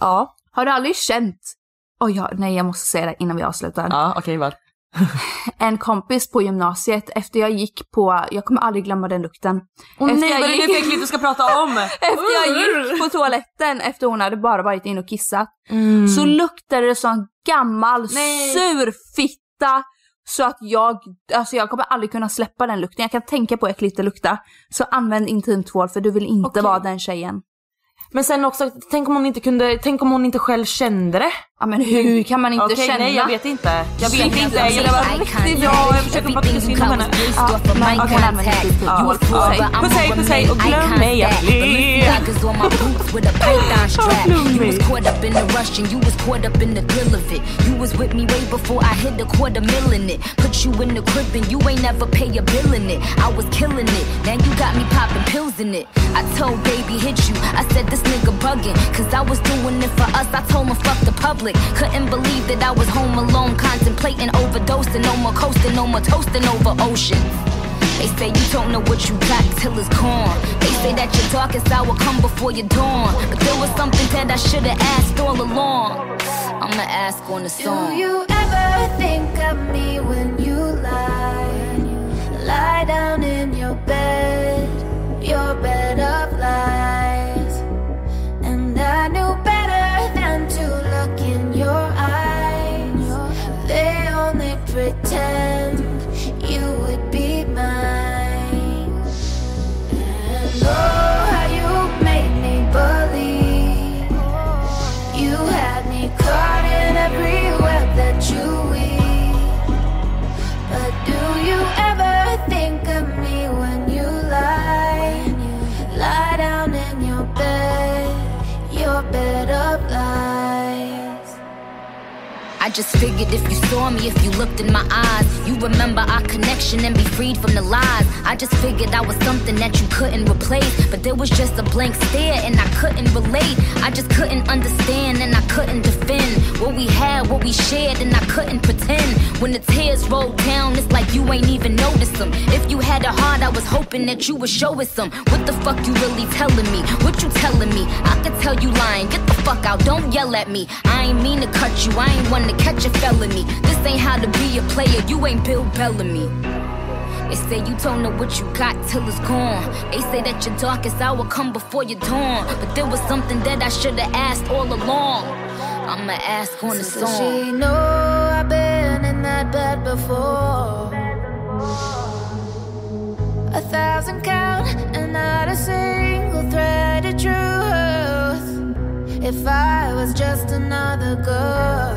Ja.
Har du aldrig känt Oj, ja, nej jag måste säga det innan vi avslutar.
Ja, okej vad.
En kompis på gymnasiet, efter jag gick på, jag kommer aldrig glömma den lukten.
Åh
Efter
nej,
jag
vad är det
gick-
för äckligt du ska prata om?
Efter jag gick på toaletten efter hon hade bara varit inne och kissat
Mm.
så luktade det som gammal
Nej.
sur fitta. Så att jag, alltså jag kommer aldrig kunna släppa den lukten. Jag kan tänka på hur äckligt det luktar. Så använd intimtvål för du vill inte
Okej.
vara den tjejen.
Men sen också, tänk om hon inte kunde, tänk om hon inte själv kände det.
Ja men hur kan man inte
Okej,
känna?
nej, jag vet inte. Jag vet inte. Jag gillar bara riktigt.
Ja,
Jag försöker bara tycka synd om henne.
Ja, man kan använda sitt
Ja,
hål på sig.
ja. Puss hej, puss hej och glöm mig att le.
with a python strap. You was caught up in the rush and you was caught up in the thrill of it. You was with me way before I hit a quarter mil in it. Put you in the crib and you ain't never pay a bill in it. I was killing it, now you got me popping pills in it. I told baby hit you, I said this nigga bugging. Cause I was doing it for us, I told him fuck the public. Couldn't believe that I was home alone contemplating overdosing. No more coasting, no more toasting over ocean. They say you don't know what you got till it's gone. They say that your darkest hour come before your dawn. But there was something that I should've asked all along. I'ma ask on the song.
Do you ever think of me when you lie? Lie down in your bed, your bed of lies. And I knew better than to look in your eyes. They only pretend you would be mine. And oh, how you made me believe. You had me caught in every web that you weave. But do you ever think of me when you lie? Lie down in your bed, your bed of lies.
I just figured if you saw me, if you looked in my eyes, you remember our connection and be freed from the lies. I just figured I was something that you couldn't replace, but there was just a blank stare and I couldn't relate. I just couldn't understand and I couldn't defend what we had, what we shared, and I couldn't pretend. When the tears rolled down, it's like you ain't even noticed them. If you had a heart, I was hoping that you would show us some. What the fuck you really telling me? What you telling me? I could tell you lying. Get the fuck out. Don't yell at me. I ain't mean to cut you. I ain't want to catch a felony. This ain't how to be a player. You ain't Bill Bellamy. They say you don't know what you got till it's gone. They say that your darkest hour come before your dawn. But there was something that I should have asked all along. I'ma ask on the
So
song.
Does she know I've been in that bed before? A thousand count and not a single thread of truth. If I was just another girl,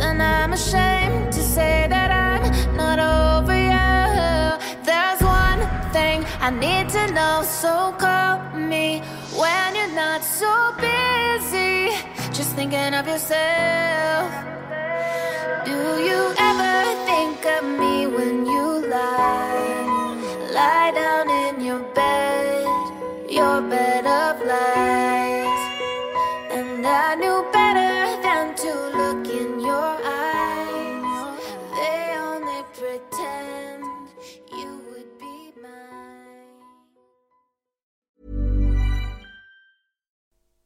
then I'm ashamed to say that I'm not over you. There's one thing I need to know, so call me when you're not so busy just thinking of yourself. Do you ever think of me when you lie? Lie down in your bed, your bed of lies. And I knew better than to look in your eyes. They only pretend you would be mine.